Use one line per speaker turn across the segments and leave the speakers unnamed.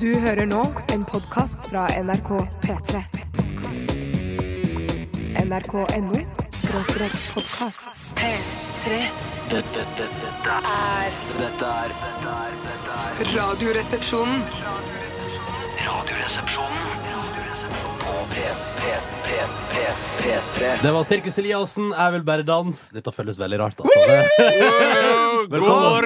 Du hører nå en podkast fra NRK P3. NRK.no skråstrek podkast. P3.
Dette, dette, dette,
er
dette er dette er- dette er
Radioresepsjonen.
Radioresepsjonen på P, P, P, P, P3.
Det var Sirkus Eliassen, 'Jeg vil bare danse'. Dette føles veldig rart, altså. Velkommen.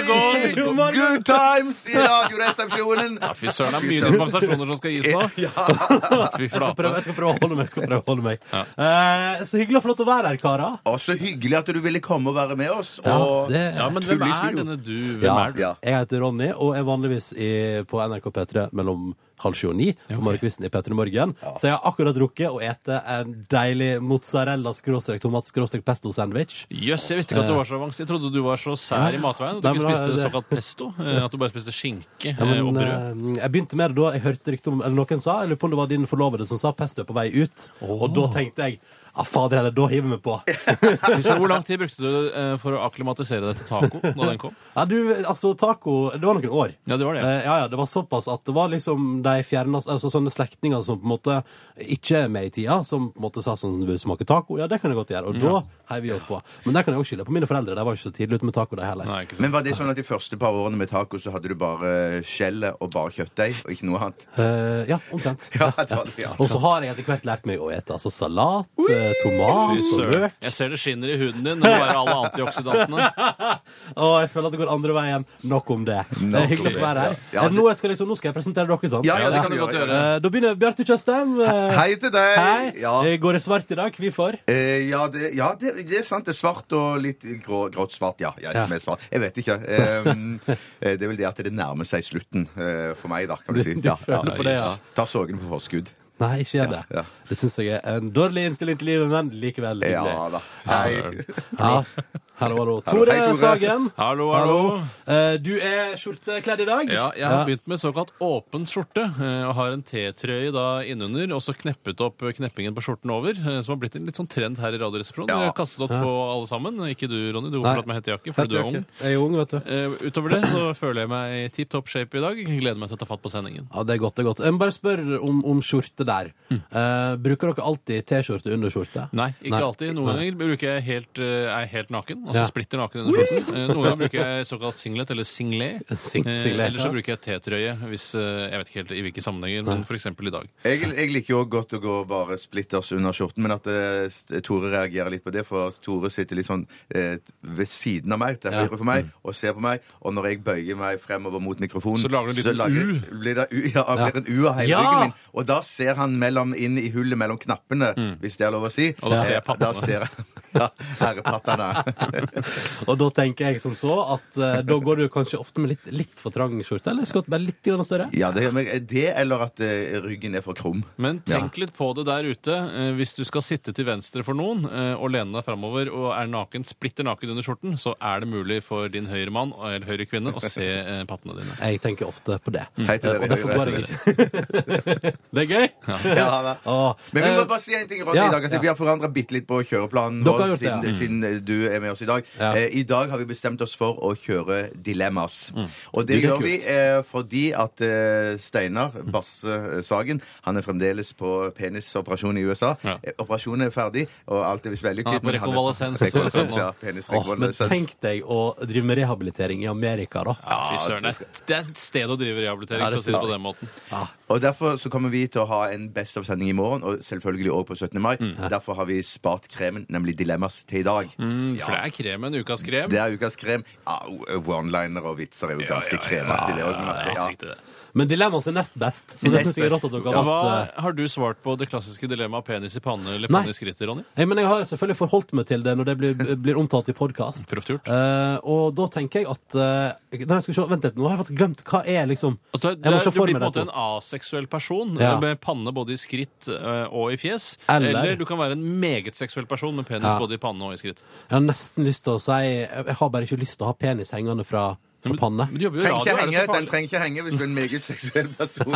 God morgen.
Good times i Radioresepsjonen!
Ja, fy søren, det er mye dispensasjoner som skal gis nå. Fy
Jeg skal, prøve, jeg
flate.
skal prøve å holde meg. Jeg skal prøve å holde meg. Eh, så hyggelig og flott å være her, karer.
Og så hyggelig at du ville komme og være med oss.
Ja,
Og
det-
Ja, men hvem
Tullis
er
video.
denne du? Hvem
Ja.
er du?
Ja.
Jeg heter Ronny og er vanligvis i, på NRK P3 mellom halv sju og ni. På morgenkvisten i P3 Morgen. Så jeg har akkurat rukket å ete en deilig mozzarella-tomat-pesto-sandwich.
Jøss, jeg visste ikke at du var så avansert. Jeg trodde du var så sær i matveien at du
Nei,
ikke
men da-
spiste
det-
såkalt pesto. eh, At du bare spiste skinke
Ja,
eh, og
men,
brød.
eh, jeg begynte med det da jeg hørte rykte om Eller noen sa, jeg lurer på om det var din forlovede som sa pesto er på vei ut. Og da tenkte jeg ah, fader heller, da hiver vi på.
Fy søren, Hvor lang tid brukte du eh, for å akklimatisere deg til taco da den kom?
Ja, du, altså taco Det var noen år.
Ja, det var det.
Eh, ja, ja, det var såpass at det var liksom de fjerna altså, Sånne slektninger som på en måte ikke er med i tida, som på en måte sa sånn Vil du smake taco? Ja, det kan jeg godt gjøre. Og da heiv vi oss på. Men der kan jeg også skylde på mine foreldre. De var ikke så tidlig ute med taco, de heller.
Nei, ikke sant.
Men var det sånn at de første par årene med taco så hadde du bare skjellet og bare kjøttdeig og ikke noe annet?
Eh, ja, omtrent.
Ja, det var det, ja.
Og så har jeg etter hvert lært meg å ete altså salat, eh, tomat
Fy
og
søren.
løk.
Jeg ser det skinner i huden din. Det er bare alle antioksidantene.
Og jeg føler at det går andre veien. Nok om det. det er hyggelig å
om
få
det,
være her.
ja. Ja,
Er det nå, jeg skal liksom, nå skal jeg presentere dere, sant?
Ja,
Ja, det kan du
Ja,
godt
ja, ja.
gjøre.
Eh, Da begynner Bjarte Tjøstheim. eh,
Hei til deg!
Hei.
Ja,
Eh, Går det svart i dag? Hvorfor?
eh, ja, det, ja det, det er sant. Det er svart og litt grå, grått svart. Ja, jeg som er svart. Jeg vet ikke. Ehm, eh, det er vel det at det nærmer seg slutten eh, for meg, da, kan du si.
Du føler på det, ja.
Ta sorgene på forskudd.
Nei, ikke gjør det.
Ja, ja.
Det syns jeg er en dårlig innstilling til livet, men likevel hyggelig.
Ja da. Hei.
Ja. Hallo, hallo. Tore
Hei, Tore.
Sagen.
Hallo, hallo.
Eh, Du er skjortekledd i dag.
Ja, jeg har begynt med såkalt åpen skjorte, eh, og har en T-trøye da innunder, og så kneppet opp eh, kneppingen på skjorten over, eh, som har blitt en litt sånn trend her i Radioresepsjonen.
Ja.
Jeg har kastet opp på alle sammen. Ikke du, Ronny, du går
Nei.
fortsatt med hettejakke, for du er ung.
Jeg er ung, vet du.
Eh, utover det så føler jeg meg i tipp topp shape i dag. Gleder meg til å ta fatt på sendingen.
Ja, Det er godt. det er godt. Jeg må bare spørre om, om skjorte der. Eh, bruker dere alltid T-skjorte under skjorte?
Mm. Nei, ikke
Nei.
alltid. Noen ganger bruker jeg helt, eh, er jeg helt naken, altså
Ja.
splitter naken under skjorten. Eh, Noen ganger bruker jeg såkalt singlet, eller singlet.
Sing-
Eh,
singlet,
Eller så
ja.
bruker jeg T-trøye, hvis, eh, jeg vet ikke helt i hvilke sammenhenger, men for eksempel i dag.
Jeg, jeg liker jo godt å gå bare splitters under skjorten, men at eh, st- Tore reagerer litt på det, for Tore sitter litt sånn eh, ved siden av meg, til
Ja.
høyre for meg, og ser på meg, og når jeg bøyer meg fremover mot mikrofonen
Så lager du en liten
lager- Blir det, U- ja,
Ja.
blir en U av hele
Ja!
ryggen min, og da ser han mellom, inn i hullet mellom knappene, hvis det er lov å si.
Og da ser jeg
Eh, Da
pattene.
ser jeg ja, herrepattene.
Og da tenker jeg som så at eh, da går du kanskje ofte med litt, litt for trang skjorte, eller skal du bare litt grann større?
ja, det, men det eller at eh, ryggen er for krum.
Men tenk litt på det der ute. Eh, Hvis du skal sitte til venstre for noen eh, og lene deg framover og er naken, splitter naken under skjorten, så er det mulig for din høyre mann eller høyre kvinne å se eh, pattene dine.
Jeg tenker ofte på det.
Hei til
Eh,
dere,
og derfor
hei til
går jeg
dere.
ikke. det er gøy.
Ja, da.
Åh,
Men vi må
eh,
bare si en ting, Ronny,
ja,
i dag, at
ja.
vi har forandra bitte litt på kjøreplanen
Dere
vår
har gjort det,
siden,
ja. Mm.
siden eh, du er med oss i dag.
Ja.
Eh, I dag har vi bestemt oss for å kjøre dilemmas. Og det,
Mm. Det er
gjør
kult. Mm.
vi eh, fordi at eh, Steinar Basse eh, Sagen han er fremdeles på penisoperasjon i USA.
Ja.
Eh, Operasjonen er ferdig, og alt er visst
Han er
vellykket.
på
men han er-
rekonvalesens.
Rekonvalesens, ja.
Eh, Åh, men
Penisrekonvalesens.
tenk deg å drive med rehabilitering i Amerika, da.
Ja, Fy søren. Det er- det er et sted å drive rehabilitering,
Ja, det
for å si det på den måten.
Og Derfor så kommer vi til å ha en Best of-sending i morgen, og selvfølgelig også på 17. mai.
Mm.
Derfor har vi spart kremen, nemlig Dilemmas, til i dag.
Mm,
For det er kremen. Ukas krem.
Det er ukas krem. Ja, One-liner og vitser er jo ganske kremaktig. det også, men-
Helt
ja.
riktig det.
Men dilemmaet er nest best, så det
Nest
syns jeg er
best.
rått at dere har
Hva
valgt. eh.
har du svart på det klassiske dilemmaet penis i panne eller
Nei.
panne i skrittet, Ronny?
Nei, men jeg har selvfølgelig forholdt meg til det når det blir, blir omtalt i podkast.
Proft gjort.
og da tenker jeg at eh, Nei, skal vi se, vent litt, nå har jeg faktisk glemt hva er liksom
Altså,
Jeg
det
må
er,
se
du
for
blir på en
meg
måte
det.
en aseksuell person eh,
Ja.
med panne både i skritt eh, og i fjes.
Eller-
Eller, du kan være en meget seksuell person med penis
Ja.
både i panne og i skritt.
Jeg har nesten lyst til å si Jeg har bare ikke lyst til å ha penis hengende fra for panne.
Men du jobber jo i
Trenger ikke
radio, er det
henge,
så
den
farlig?
trenger ikke henge hvis du er en meget seksuell person.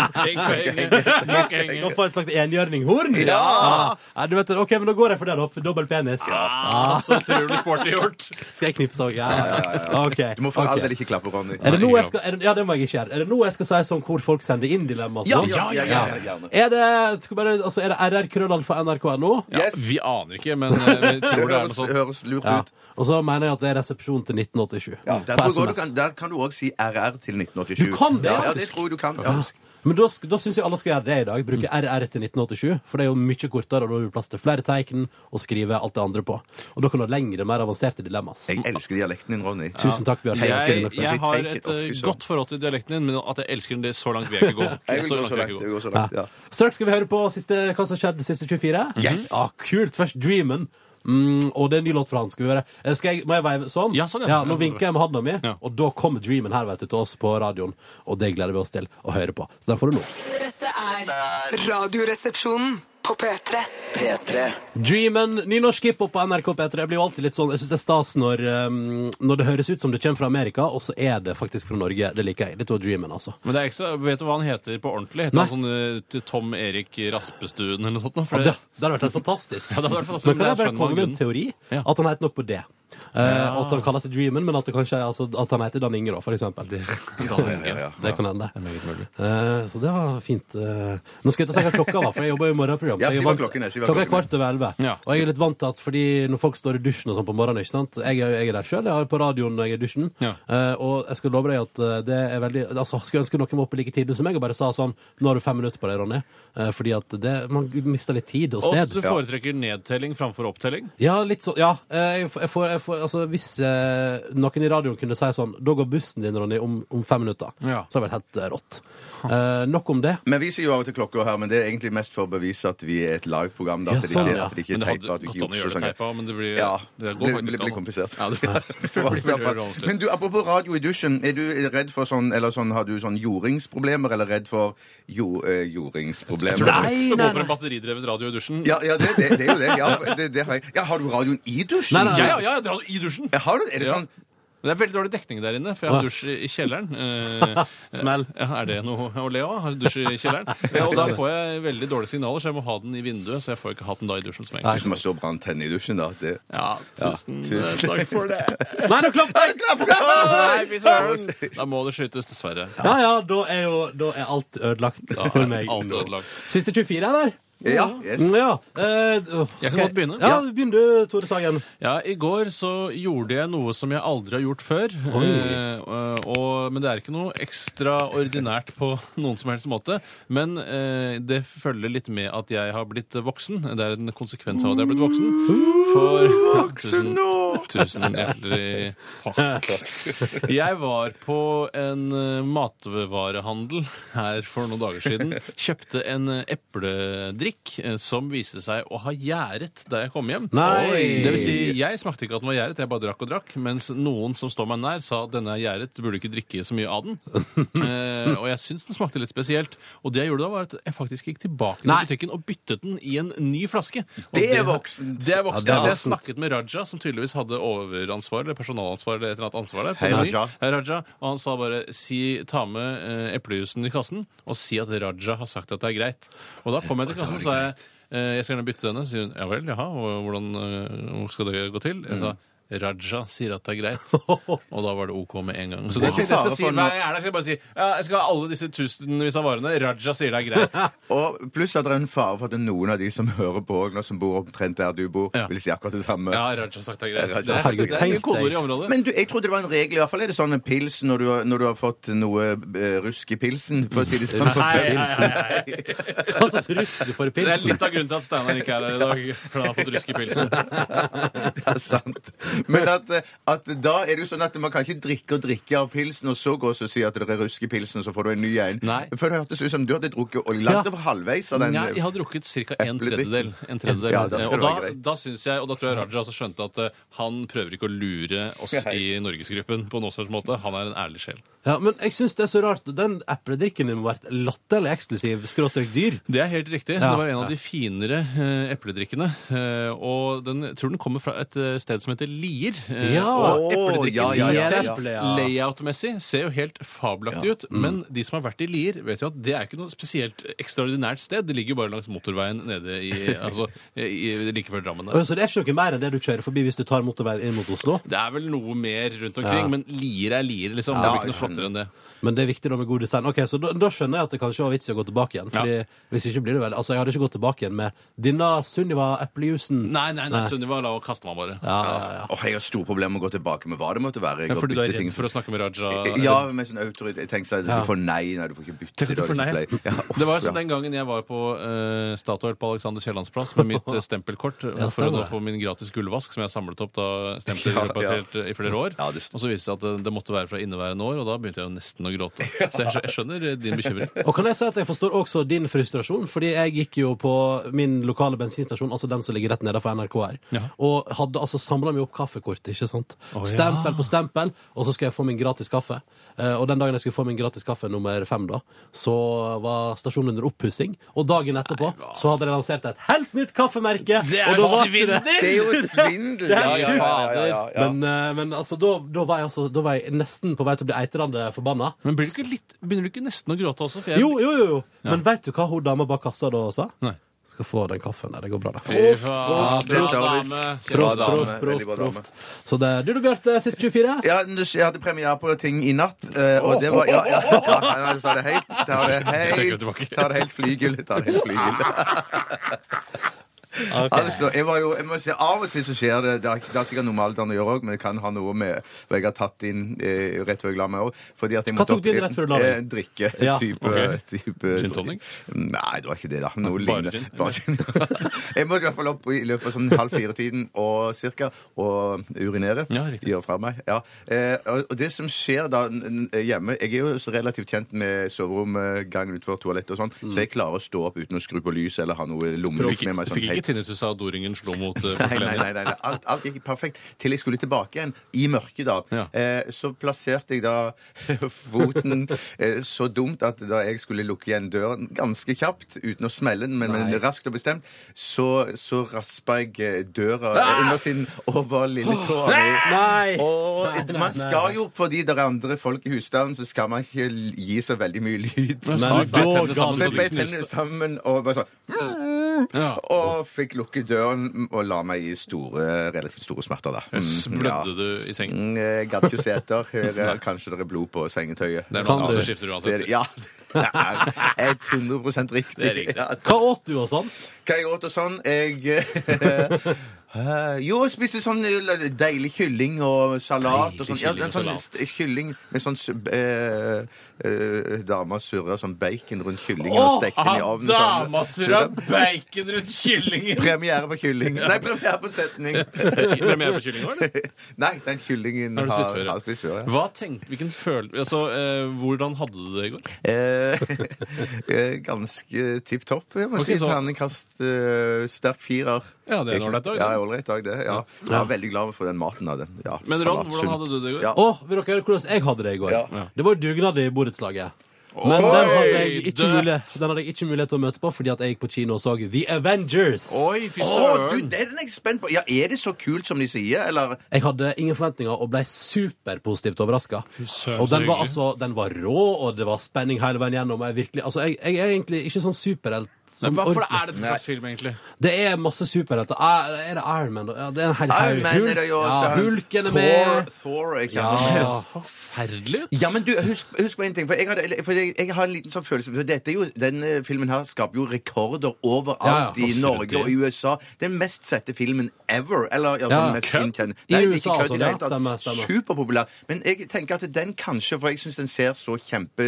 Heng, heng, heng.
Å få et slags enhjørninghorn?
Ja!
Nei, du vet det. Ok, men da går jeg for det, da. Dobbel penis.
Ah, så tror du sporty gjort.
Skal jeg knipse òg? Ja, ja, ja. Ok.
Du må for
ok.
all del ikke klappe, Ronny.
Er det
Nei,
noe jeg
ikke
skal, er det, ja, det må jeg ikke gjøre. Er det noe jeg skal si som hvor folk sender inn dilemma? sånn?
Ja, ja, ja, ja, ja, gjerne.
Er det, skal bare, altså, er det rrkrøllalfa.nrk.no?
Ja,
Yes.
vi aner ikke, men eh, vi tror
Det
det er noe
høres,
sånt.
høres lurt
Ja.
ut.
Og så mener jeg at det er resepsjon til 1987.
Ja, der,
på
tror jeg du
SMS.
kan, der kan du òg si RR til 1987.
Du kan det,
ja, ja, det
faktisk.
tror jeg du kan. Ja.
Ja. Men da, sk- da syns jeg alle skal gjøre det i dag. Bruke
Mm.
RR til 1987. For det er jo mye kortere, og da har du plass til flere tegn og skrive alt det andre på. Og da kan du ha lengre, mer avanserte dilemmas.
Jeg elsker dialekten din, Ronny.
Tusen takk, Bjørn.
Tegn
skal
Jeg,
du
nok si.
jeg har
Take it
et
off,
eh,
fy søren.
godt forhold til dialekten din, men at jeg elsker den, det så langt vil jeg ikke gå.
Jeg vil gå
Så langt
så langt.
vil jeg
Jeg
ikke
vil
gå.
gå så langt ja.
Straks skal vi høre på siste, hva som skjedde siste 24.
Yes.
Ja, kult. Først Dreamen. Mm, og det er en ny låt fra han. Skal vi høre. Eh, Skal jeg, må jeg veive sånn?
Ja, sånn, ja.
nå
Ja,
vinker jeg med handa mi,
Ja.
og da kommer Dreamen her vet du, til oss på radioen. Og det gleder vi oss til å høre på. Så den får du nå.
Dette er Radioresepsjonen på P3.
P3
Dreamen, nynorsk hiphop på NRK P3. Jeg blir jo alltid litt sånn, jeg synes det er stas når, ehm, når det høres ut som det kommer fra Amerika, og så er det faktisk fra Norge. Det liker jeg. Litt av Dreamen, altså.
Men det er ekstra, Vet du hva han heter på ordentlig? Heter
Nei.
han sånn eh, til Tom Erik Raspestuen eller noe sånt? nå? For
Og
det,
det, det hadde vært helt fantastisk.
Ja, det hadde vært fantastisk,
men kan jeg
men jeg
bare
skjønner
komme med en
grunnen.
teori?
Ja.
At han heter nok på det. Eh, At han kaller seg Dreamen, men at, det kanskje, er- altså, at han heter Dan Inge, da, for eksempel. Det, kan hende. Eh, så det var fint. eh. Nå skal jeg ikke si hva klokka var, for jeg jobber jo i morgenprogram.
Ja,
så jeg
si hva
vant-
klokken er, si hva
klokka
klokken
er
er.
kvart over elleve.
Ja.
Og jeg er litt vant til at fordi når folk står i dusjen og sånn på morgenen, ikke sant? Jeg, er- jeg er der sjøl, jeg er på radioen når jeg er i dusjen.
Ja.
Eh, og jeg skal love deg at eh, det er veldig Altså, Skulle ønske noen var oppe like tidlig som meg og bare sa sånn Nå har du fem minutter på deg, Ronny. Eh, fordi at det, man mister litt tid og
og
sted.
du foretrekker nedtelling framfor opptelling?
Ja, litt sånn. Ja. Eh, Jeg får, jeg får, jeg får, altså, hvis eh, noen i radioen kunne si sånn Da går bussen din, Ronny, om, om fem minutter.
Ja.
Så hadde det vært helt eh, rått. Eh, nok om det.
Men vi sier jo av og til klokka her, men det er egentlig mest for å bevise at vi er et liveprogram. da,
Ja,
At det
sånn,
ikke
ja.
at det ikke
Men
er
det hadde
teipa. at vi
gått
ikke
an å gjøre
jukser sånn.
teipa, men det blir,
Ja.
det går
blir-
faktisk
blir- blir
an.
komplisert.
Ja, det blir
For-
veldig, veldig vanskelig.
Men du, apropos radio i dusjen. Er du redd for sånn, eller sånn, har du sånn jordingsproblemer, eller redd for jo, eh, jordingsproblemer?
Tror du
Nei,
det er lett å
nei,
gå for en batteridrevet radio i dusjen?
Ja, ja det, det, det er jo det. Ja, det, det har, jeg. ja, har du radioen i dusjen?
Nei, nei,
Ja, ja, ja, jeg drar i dusjen.
Ja, Har du, er det
Ja.
sånn
Men Det er veldig dårlig dekning der inne, for jeg har
Ja.
dusj i i kjelleren. Eh,
Smell.
Ja, er det noe å le av? Har du Dusj i kjelleren. Ja, og da får jeg veldig dårlige signaler, så jeg må ha den i vinduet. Så jeg får ikke hatt den da i dusjen som jeg
Hvis man så brantenne i dusjen, da. at Det.
Ja, tusen
tusen.
eh, takk for det.
Nei, nå klapper jeg!
Nei, fy søren! Da må det skytes, dessverre.
Ja, ja, da er jo da er alt ødelagt
Da
for
er
meg.
alt ødelagt.
Siste 24, eller?
Ja, yes.
Ja. eh, åh,
Jeg kan
skal
godt begynne.
Ja,
Ja.
Begynn du, Tore Sagen.
Ja, I går så gjorde jeg noe som jeg aldri har gjort før.
Oi.
Eh, og, men det er ikke noe ekstraordinært på noen som helst måte. Men eh, det følger litt med at jeg har blitt voksen. Det er en konsekvens av at jeg har blitt voksen. For Voksen nå! Tusen hjertelig Jeg var på en eh, matvarehandel her for noen dager siden. Kjøpte en eh, epledrikk eh, som viste seg å ha gjæret da jeg kom hjem.
Nei.
Oi. Det vil si, jeg smakte ikke at den var gjæret, jeg bare drakk og drakk. Mens noen som står meg nær, sa at denne er gjæret, du burde ikke drikke så mye av den. eh, og jeg syns den smakte litt spesielt. Og det jeg gjorde da, var at jeg faktisk gikk tilbake til
Nei.
butikken og byttet den i en ny flaske. Og
Det er voksent.
Det er voksent.
Ja, det er
Så jeg
voksent.
snakket med Raja, som tydeligvis hadde overansvar eller personalansvar eller et eller annet ansvar der. på
Hei,
Meny.
Raja.
Hei, Raja. Og han sa bare si, ta med eh, eplejusen i kassen og si at Raja har sagt at det er greit. Og da kom jeg til kassen og sa jeg, eh, jeg skal gjerne bytte denne. Så sier hun ja vel, jaha, og hvordan eh, hvor skal det gå til? Jeg sa Raja sier at det er greit. Og da var det OK med en gang. Så det,
Wow.
tenkte jeg skal si,
Fare for
hver gang jeg er der, skal jeg bare si ja, jeg skal ha alle disse tusenvis av varene. Raja sier det er greit.
Og pluss at det er en fare for at noen av de som hører på, og nå som bor omtrent der du bor,
Ja.
vil si akkurat det samme.
Ja, Raja har sagt det er greit.
Raja
Det er,
Herregud,
det er
tenk
mye koder
deg.
i området.
Men du, jeg trodde det var en regel, i hvert fall er det sånn med pils når du, har- når du har fått noe eh, rusk i pilsen, for å si det sånn.
Rusk i
Mm. Nei, nei, nei, nei.
Hva slags rusk du får i
Det er
pilsen?
litt av grunnen til at Steinar ikke er her i dag. For han har fått rusk i pilsen.
Ja, sant. Men at, eh, at da er det jo sånn at man kan ikke drikke og drikke av pilsen, og så gå og så si at det er rusk i pilsen, så får du en ny en.
Nei.
For det hørtes ut som du hadde drukket, og langt
Ja.
over halvveis av den.
Nei, jeg har drukket ca. en
Epledrikk.
tredjedel. En tredjedel. Eh,
Ja, da skal
og
det
da,
være greit.
da synes jeg, og da tror jeg Raja også skjønte at eh, han prøver ikke å lure oss i Norgesgruppen på noen slags måte. Han er en ærlig sjel.
Ja, men jeg syns det er så rart. Den epledrikken din må ha vært latterlig eksklusiv, skråstrek dyr.
Det er helt riktig.
Ja,
det var en av de finere eh, epledrikkene. Eh, og den jeg tror den kommer fra et eh, sted som heter Li. bier. eh,
Ja.
Og
Å, ja, ja,
ja, ja.
epledrikkebier.
Ja. Mm.
Layout-messig ser jo helt fabelaktig ut. Men de som har vært i Lier, vet jo at det er ikke noe spesielt ekstraordinært sted. Det ligger jo bare langs motorveien nede i, altså, i, like før Drammen.
Å,
der.
Så det er ikke noe mer enn det du kjører forbi hvis du tar motorveien inn mot Oslo?
Det er vel noe mer rundt omkring, men Lier er Lier, liksom. det blir ikke noe flottere enn det.
Men det er viktig da med god design. Ok, så da, da skjønner jeg at det kanskje var vits i å gå tilbake igjen. Fordi hvis ikke blir det vel Altså, jeg hadde ikke gått tilbake igjen med Denne Sunniva Eplejusen.
Nei, nei, nei, Sunniva, la og kaste meg bare.
Ja, ja, ja.
Åh, jeg har store problemer med å gå tilbake med hva det måtte være. Jeg
Ja,
har
fordi du er
byttet ting.
redd for å snakke med Raja?
Ja, med sånn autoritet. Jeg tenker sånn,
Ja.
du får nei, nei, du får ikke bytte.
Tenk at du
da er
får
det
nei.
så flau. Ja, uff,
Det var jo som
ja.
den gangen jeg var på uh, Statoil på Alexander Kiellands plass med mitt eh, stempelkort eh,
Ja,
for å
stemmer
nå
det.
få min gratis gullvask, som jeg har samlet opp da
sånn,
stempler i
Ja,
løpet av
ja.
et helt, eh, i flere år.
Ja,
Og
det st-
så viste det seg at eh, det måtte være fra inneværende år, og da begynte jeg jo nesten å gråte. Så jeg, skjø- jeg skjønner eh, din bekymring.
Og kan jeg si at jeg forstår også din frustrasjon, fordi jeg gikk jo på min lokale bensinstasjon, altså den som ligger rett nede for NRK her,
Ja.
og hadde altså samla meg opp kaffekortet, ikke sant?
Å, ja.
Stempel på stempel, og så skulle jeg få min gratis kaffe. Eh, Og den dagen jeg skulle få min gratis kaffe nummer fem, da, så var stasjonen under oppussing, og dagen etterpå så hadde de lansert et helt nytt kaffemerke,
Det er
og da
jo
var ikke det
Det er jo svindel!
er
Ja, ja, ja, ja, ja, ja.
Men, eh, men altså, da, da, var jeg altså, da var jeg nesten på vei til å bli eitrende forbanna.
Men blir du ikke litt, begynner du ikke nesten å gråte også? For jeg,
Jo, jo, jo. jo. Men veit du hva hun dama bak kassa da sa?
Nei.
Skal få den kaffen der. Det går bra, det.
Fy faen,
proff,
bra
proff.
dame.
Bra
Proft,
dame,
proft, proft,
veldig bra dame.
proft. Så det er du da, Bjarte. Sist 24.
Ja, men du- jeg hadde premiere på ting i natt, eh, og det var Ja, ja. ja nei, nei, ta det helt, ta det
trekker det
helt,
tilbake.
ta det helt flygel. Ta det helt flygel. Altså, jeg var jo, jeg må si, Av og til så skjer det Det er, det er sikkert noe med alderen å gjøre òg, men det kan ha noe med hva jeg har tatt inn eh, rett før jeg la meg òg.
Hva tok du inn rett før du la deg?
Drikke.
Ja,
Type,
ok.
type
Gin tonic?
Nei, det var ikke det, da. Noe
Bare
lignende.
gin?
Bare gin. jeg måtte i hvert fall opp i løpet av sånn halv fire-tiden og cirka og urinere.
Ja, riktig.
Gjøre fra meg. Ja. Eh, og og det som skjer da n- n- hjemme Jeg er jo så relativt kjent med eh, soveromgangen utenfor toalettet og sånn, så jeg klarer å stå opp uten å skru på lyset eller ha noe
Mm. Du
lommelykt
fikk,
med meg.
du fikk
Sånn,
ikke
helt-
tinnitus av at doringen slo mot eh,
Nei, nei, nei,
portelenet?
nei, nei. Alt, alt gikk perfekt. Til jeg skulle tilbake igjen, i mørket da,
Ja.
eh, så plasserte jeg da foten eh, så dumt at da jeg skulle lukke igjen døren ganske kjapt, uten å smelle den, men, men raskt og bestemt, så, så raspa jeg eh, døra eh, undersiden over lilletåa mi.
Ah! Nei!
Og man skal jo, fordi det er andre folk i husstanden, så skal man ikke gi så veldig mye lyd.
Men
Men
så
da
ble tennene
ga-
sammen,
Så
så
jeg ble
de
tennene
knuste.
sammen og bare sånn
Ja.
og fikk lukket døren og la meg i store, relativt store smerter, da. Mm, ja.
Blødde du i sengen?
Mm, jeg Gadd ikke seter. Kanskje det er blod på sengetøyet.
Det er noe
Kan
annet
du-
som skifter
Det
uansett.
er- Ja. Det er 100 riktig.
Det er riktig.
Ja.
Hva åt du og sånn?
Hva jeg åt og sånn? Jeg eh, Jo, jeg spiste sånn eh, deilig kylling og salat. og sånn. Ja,
Deilig kylling og
en sånn
salat.
s- kylling med sånn uh, Dama surrer sånn bacon rundt kyllingen og stekte den i
Aha,
ovnen. sånn.
dama surra bacon rundt kyllingen!
Premiere på kylling. Nei, premiere på setning.
Premiere på kylling, eller?
Nei, den kyllingen
Har du spist før, ja?
har spist før, ja.
Hva tenkte, hvilken føl... Altså, eh, hvordan hadde du det i går?
Eh, eh, ganske tipp topp. Jeg må
Ok,
si
så-
terningkast eh, sterk firer.
Ja, det er en ålreit dag, det.
Ja, ålreit dag, det. Ja. Jeg var veldig glad for den maten av den. Ja,
Men
salat,
Ron, hvordan
sunt.
hadde du det i går?
Ja.
Å, vil dere høre hvordan jeg hadde det i går? Det var jo dugnad i borettslaget. Men
Oi,
den hadde, jeg ikke
dødt.
mulighet, den hadde jeg ikke mulighet til å møte på fordi at jeg gikk på kino og så The Avengers.
Oi, fy
Å, du,
søren!
det er den jeg er spent på! Ja, Er det så kult som de sier, eller?
Jeg hadde ingen forventninger og ble superpositivt overraska.
søren,
Og
så
den var,
hyggelig.
altså, den var rå, og det var spenning hele veien gjennom. Jeg, virkelig, altså, jeg, jeg er egentlig ikke sånn superhelt.
Men
Som
hva for
ordentlig-
er det for slags film, egentlig?
Det er masse superhelter. Er, er det Iron Man? da? Ja, det er en hel haug.
Iron Man er det jo
ja,
så-
Hulken er
Thor-
med.
Thor, jeg
Ja.
kjenner det.
Forferdelig ut!
Ja, men du, husk, husk på en ting. For jeg, hadde, for jeg, jeg har en liten sånn følelse for dette er jo, Denne filmen her skaper jo rekorder overalt
Ja, ja,
i
absolutt,
Norge
ja.
og i USA. Den mest sette filmen ever. Eller ja,
Ja,
den mest
kødd.
inntjent.
I USA også, ja, stemmer, stemmer.
Superpopulær. Men jeg tenker at den kanskje, for jeg syns den ser så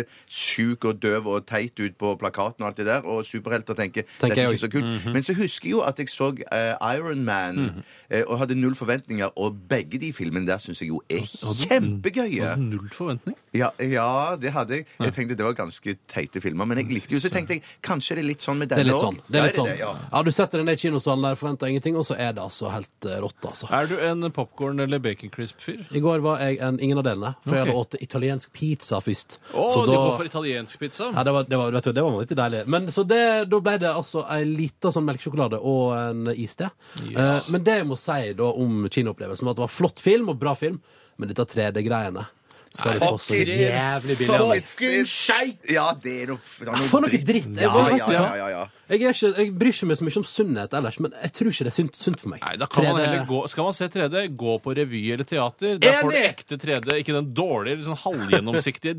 kjempesjuk og døv og teit ut på plakaten og alt det der, og superhelter tenker,
Tenker
dette er
jeg Mhm.
ikke så kult. Men så husker jeg jo at jeg så eh, Iron Man eh, og hadde null forventninger, og begge de filmene der syns jeg jo er kjempegøye.
Null forventning.
Ja, ja, det hadde jeg. Jeg tenkte det var ganske teite filmer. Men jeg likte jo så tenkte jeg, kanskje det er litt sånn med
Mm, Det er
denne
litt
også.
sånn. Det er litt
Ja,
sånn.
det, ja.
Ja, du setter deg ned i kinosalen der, forventer ingenting, og så er det altså helt eh, rått, altså.
Er du en popkorn- eller bacon crisp-fyr?
I går var jeg en, ingen av delene, for jeg
Ok.
hadde åtte italiensk pizza først.
Å,
Så
du
da-
går for italiensk pizza?
Ja, det var, det var, vet du, det var vanvittig deilig. Men så det, da ble det altså ei lita sånn melkesjokolade og en iste.
Yes.
Eh, men det jeg må si da om kinoopplevelsen, var at det var flott film og bra film, men dette 3D-greiene skal du få så
fuck it.
jævlig billig av meg.
Fucking skeit!
Ja, det er noe, det er noe
For noe dritt! Jeg,
Ja,
bare-
ja, ja, ja, ja.
Jeg, er ikke, jeg bryr ikke meg så mye om sunnhet ellers, men jeg tror ikke det er sunt, sunt for meg.
Nei, da kan man
3D
heller gå, Skal man se 3D, gå på revy eller teater. Der får du
Enig!
ekte 3D, ikke den dårlige, liksom halvgjennomsiktige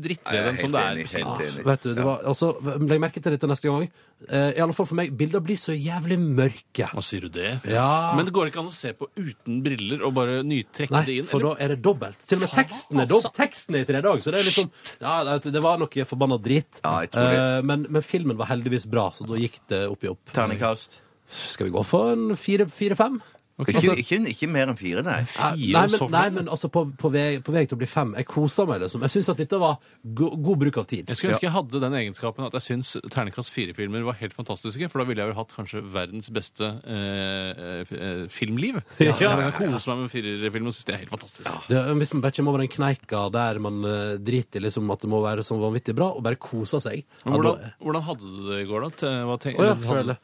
Jeg er
sånn
dritt-3D-en
helt
som det
enig.
er. på kino.
Helt enig.
Ah, Vet du, det var, altså, Legg merke til dette neste gang. Eh, I alle fall for meg, bilder blir så jævlig mørke.
Hva sier du det?
Ja.
Men det går ikke an å se på uten briller og bare nytrekke det
Nei,
inn?
for da er det dobbelt. Til og med teksten er, dob teksten er i tre dager. Så det er liksom ja, det- Det var noe forbanna drit.
Ja, jeg tror det.
Eh, men, men filmen var heldigvis bra, så da gikk det opp i opp.
Terningkast.
Skal vi gå for en fire-fem?
Ikke, ikke, ikke mer enn fire, nei.
Ah, Altså, eh,
Fire
Nei,
og så
men, nei, men altså på, på, vei, på vei til å bli fem. Jeg kosa meg, liksom. Jeg syns at dette var go god bruk av tid.
Jeg skulle ønske jeg hadde den egenskapen at jeg syns Ternekast 4-filmer var helt fantastiske, for da ville jeg vel hatt kanskje verdens beste eh, eh, filmliv. Ja, Jeg kan kose meg med firerfilm og synes det er helt fantastisk.
Det, hvis man bare kommer over den kneika der man eh, driter i liksom, at det må være sånn vanvittig bra, og bare koser seg
Men
ja, da-
hvordan, sånn- hvordan hadde du det i går, da? Til- Hva tenk,
Å ja,
eller hadde-
føler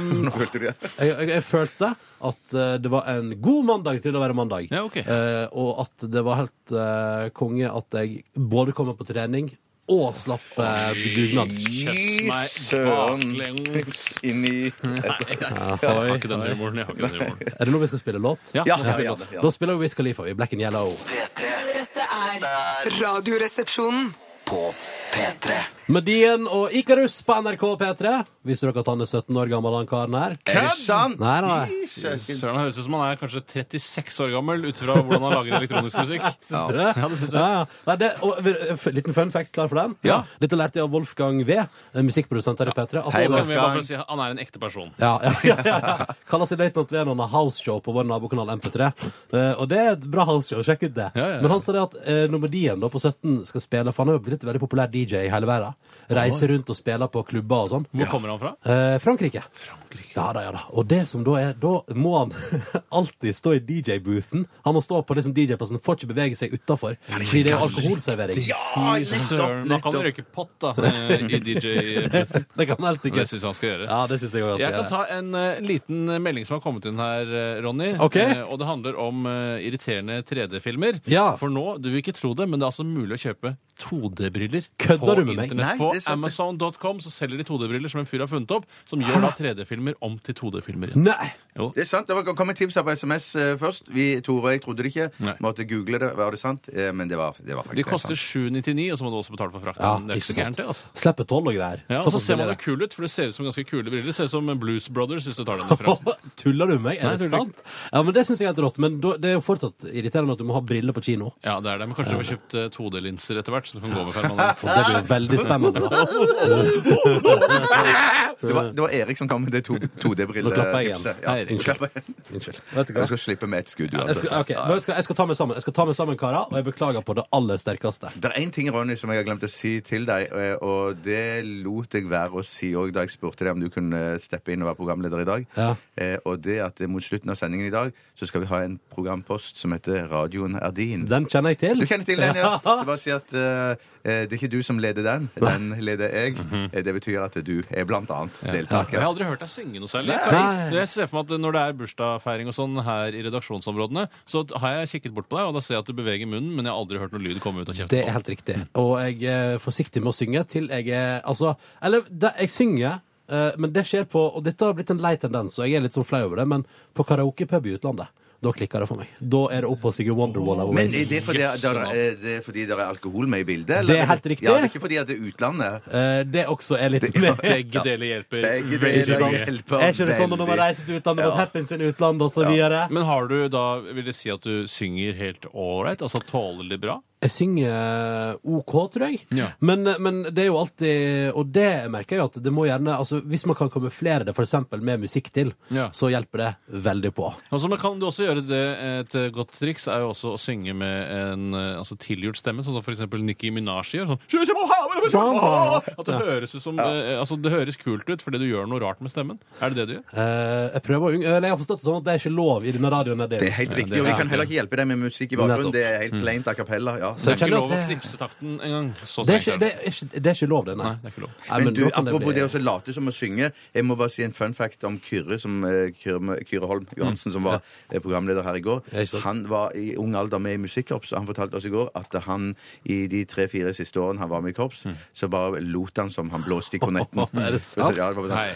um,
Nå følte du det.
jeg, jeg, jeg følte at eh, det var en god mandag til å være mandag.
Ja, ok.
Eh, og at det var helt eh, konge at jeg både kom meg på trening og slapp eh, dugnad.
Kjøss meg
Søren.
baklengs.
Inn i
Nei, jeg har ikke den humoren. Jeg har ikke den humoren.
Er det nå vi skal spille låt?
Ja,
Ja,
nå
ja,
spiller
ja,
vi.
ja.
Da spiller vi Wiz Khalifa i Black and Yellow.
Dette er Radioresepsjonen.
Medien og Ikarus på NRK P3. Visste dere at han er 17 år gammel, han karen her?
Er det sant?
Nei, nei.
Søren, det høres ut som han er kanskje 36 år gammel ut fra hvordan han lager elektronisk musikk.
Syns dere det? Ja, det syns jeg. Ja, Nei, det, og, eh, liten fun fact, klar for den?
Ja.
Dette lærte jeg av Wolfgang V, en musikkprodusent her i P3. at
Hei,
han-
Så Altså, vi bare for å si, han er en ekte person.
Ja, ja, ja, ja. Kaller seg Løytnant Venon av Houseshow på vår nabokanal MP3. Eh, og det er et bra houseshow, sjekk ut det.
Ja, ja, ja.
Men han sa det at eh, når Medien da på 17 skal spille For han er jo blitt en veldig populær DJ i hele verden. Reiser rundt og spiller på klubber og sånn.
Hvor kommer han fra?
Eh, Frankrike. Ja da, ja da. Og det som da er Da må han alltid stå i DJ-boothen. Han må stå på liksom DJ-plassen, får ikke bevege seg utafor. Fordi det er jo alkoholservering.
Fy søren. Han kan røyke pott, da, eh, i DJ-pressen.
Det kan han helt
Det
sikkert.
syns jeg han skal gjøre.
Ja, det syns jeg òg.
Jeg kan ta en eh, liten melding som har kommet inn her, eh, Ronny.
Ok.
Eh, og det handler om eh, irriterende 3D-filmer.
Ja.
For nå, du vil ikke tro det, men det er altså mulig å kjøpe 2D-briller på
Kødder du med meg?
internett.
Nei,
på
det er sant.
Amazon.com så selger de 2D-briller som en fyr har funnet opp, som gjør da 3D-filmer om til 2D-filmer igjen.
Nei!
Jo.
Det er sant. Det var- kom et tips her på SMS eh, først. Vi, Tore og jeg trodde det ikke.
Nei.
Måtte google det. Var det sant? Eh, Men det var, det var faktisk
De
helt
koster
sant.
799, og så må du også betale for frakten.
Ja,
det er ikke så
sant.
gærent, det. altså.
Slipper toll og greier.
Ja, og så
Såpass
ser man
blir
jo
det.
kul ut, for det ser ut som ganske kule briller. Det ser ut som Blues Brothers, hvis du tar den referansen.
Tuller du med meg? Er
Nei,
det
jeg tuller
sant? Ja, men Det syns jeg er helt rått. Men da- det er jo fortsatt irriterende at du må ha briller på kino.
Ja, det er det. Men kanskje du får kjøpt eh, 2D-linser etter hvert, så du kan gå med permanent.
Og det blir jo veldig spennende. da.
Det var, det var Erik som kom med det to-
Nå klapper jeg
2D-brilletipset.
igjen.
Ja,
Hei, Erik.
nå klapper jeg.
Unnskyld. Vet du
Du
hva?
skal slippe med et skudd
Jeg
uansett.
skal, ok, men vet du hva? jeg skal ta meg sammen, Jeg skal ta meg sammen, karer, og jeg beklager på det aller sterkeste.
Det er én ting Ronny, som jeg har glemt å si til deg, eh, og det lot jeg være å si òg da jeg spurte deg om du kunne steppe inn og være programleder i dag.
Ja.
Eh, Og det at eh, mot slutten av sendingen i dag så skal vi ha en programpost som heter Radioen er din.
Den kjenner jeg til.
Du kjenner til den, ja. Så bare si at eh, eh, det er ikke du som leder den, den leder jeg. Eh, Det betyr at du er blant annet
Jeg har
deltaker.
aldri hørt deg synge noe særlig.
Nei.
Jeg ser for meg at Når det er bursdagsfeiring og sånn her i redaksjonsområdene, så har jeg kikket bort på deg, og da ser jeg at du beveger munnen, men jeg har aldri hørt noe lyd komme ut av kjeften.
Det er helt riktig.
Mm.
Og jeg er forsiktig med å synge til jeg er Altså, eller det, jeg synger, eh, men det skjer på Og dette har blitt en lei tendens, og jeg er litt sånn flau over det, men på karaokepub i utlandet, da klikker det for meg. Da er det opp å synge Wonderwall av
Men
Oasis.
er det fordi
Jøss,
der,
sånn.
eh, det er fordi det er alkohol med i bildet?
Det er helt riktig.
Ja, det er ikke fordi at det er utlandet.
Eh, det også er litt med.
Begge deler hjelper.
Begge
veldig
deler
mye.
hjelper.
Er ikke det sånn når man
veldig.
reiser til utlandet,
Ja.
mot happens in utlandet og så videre?
Men har du da Vil det si at du synger helt ålreit? Altså tålelig bra?
Jeg synger eh, OK, tror jeg.
Ja.
Men, eh, men det er jo alltid Og det merker jeg jo at det må gjerne altså, Hvis man kan kamuflere det f.eks. med musikk til,
Ja.
så hjelper det veldig på.
Og så man kan du også gjøre det Et godt triks er jo også å synge med en eh, altså, tilgjort stemme, sånn som for eksempel Nicki Minaj gjør. Sånn. At det høres ut som eh, Altså, det høres kult ut fordi du gjør noe rart med stemmen. Er det det du gjør?
Eh, jeg prøver å unng- Eller jeg har forstått det sånn at det er ikke lov i denne radioen.
Det er helt riktig.
det
Og vi
er-
kan heller ikke hjelpe deg med musikk i bakgrunnen.
Nettopp.
Det er helt plaint a cappella. Ja.
Så jeg
Det er ikke
kjenner
lov å
at det,
knipse takten engang. Så
det, er
strengt
ikke,
er
det,
det.
er ikke, det er ikke lov, det, nei.
Nei, det er ikke lov.
Nei,
Men du,
da kan det
apropos
bli-
det å late som å synge, jeg må bare si en fun fact om Kyrre, som, eh, Kyrre, Kyrre Holm Johansen, som var eh, programleder her i går.
Mm. Ja, ikke sant.
Han var i ung alder med i musikkorps, og han fortalte oss i går at han i de tre-fire siste årene han var med i korps, så bare lot han som han blåste i kornetten.
Mm. Er det sant?
Så, ja, det var bare sånn,
Hei,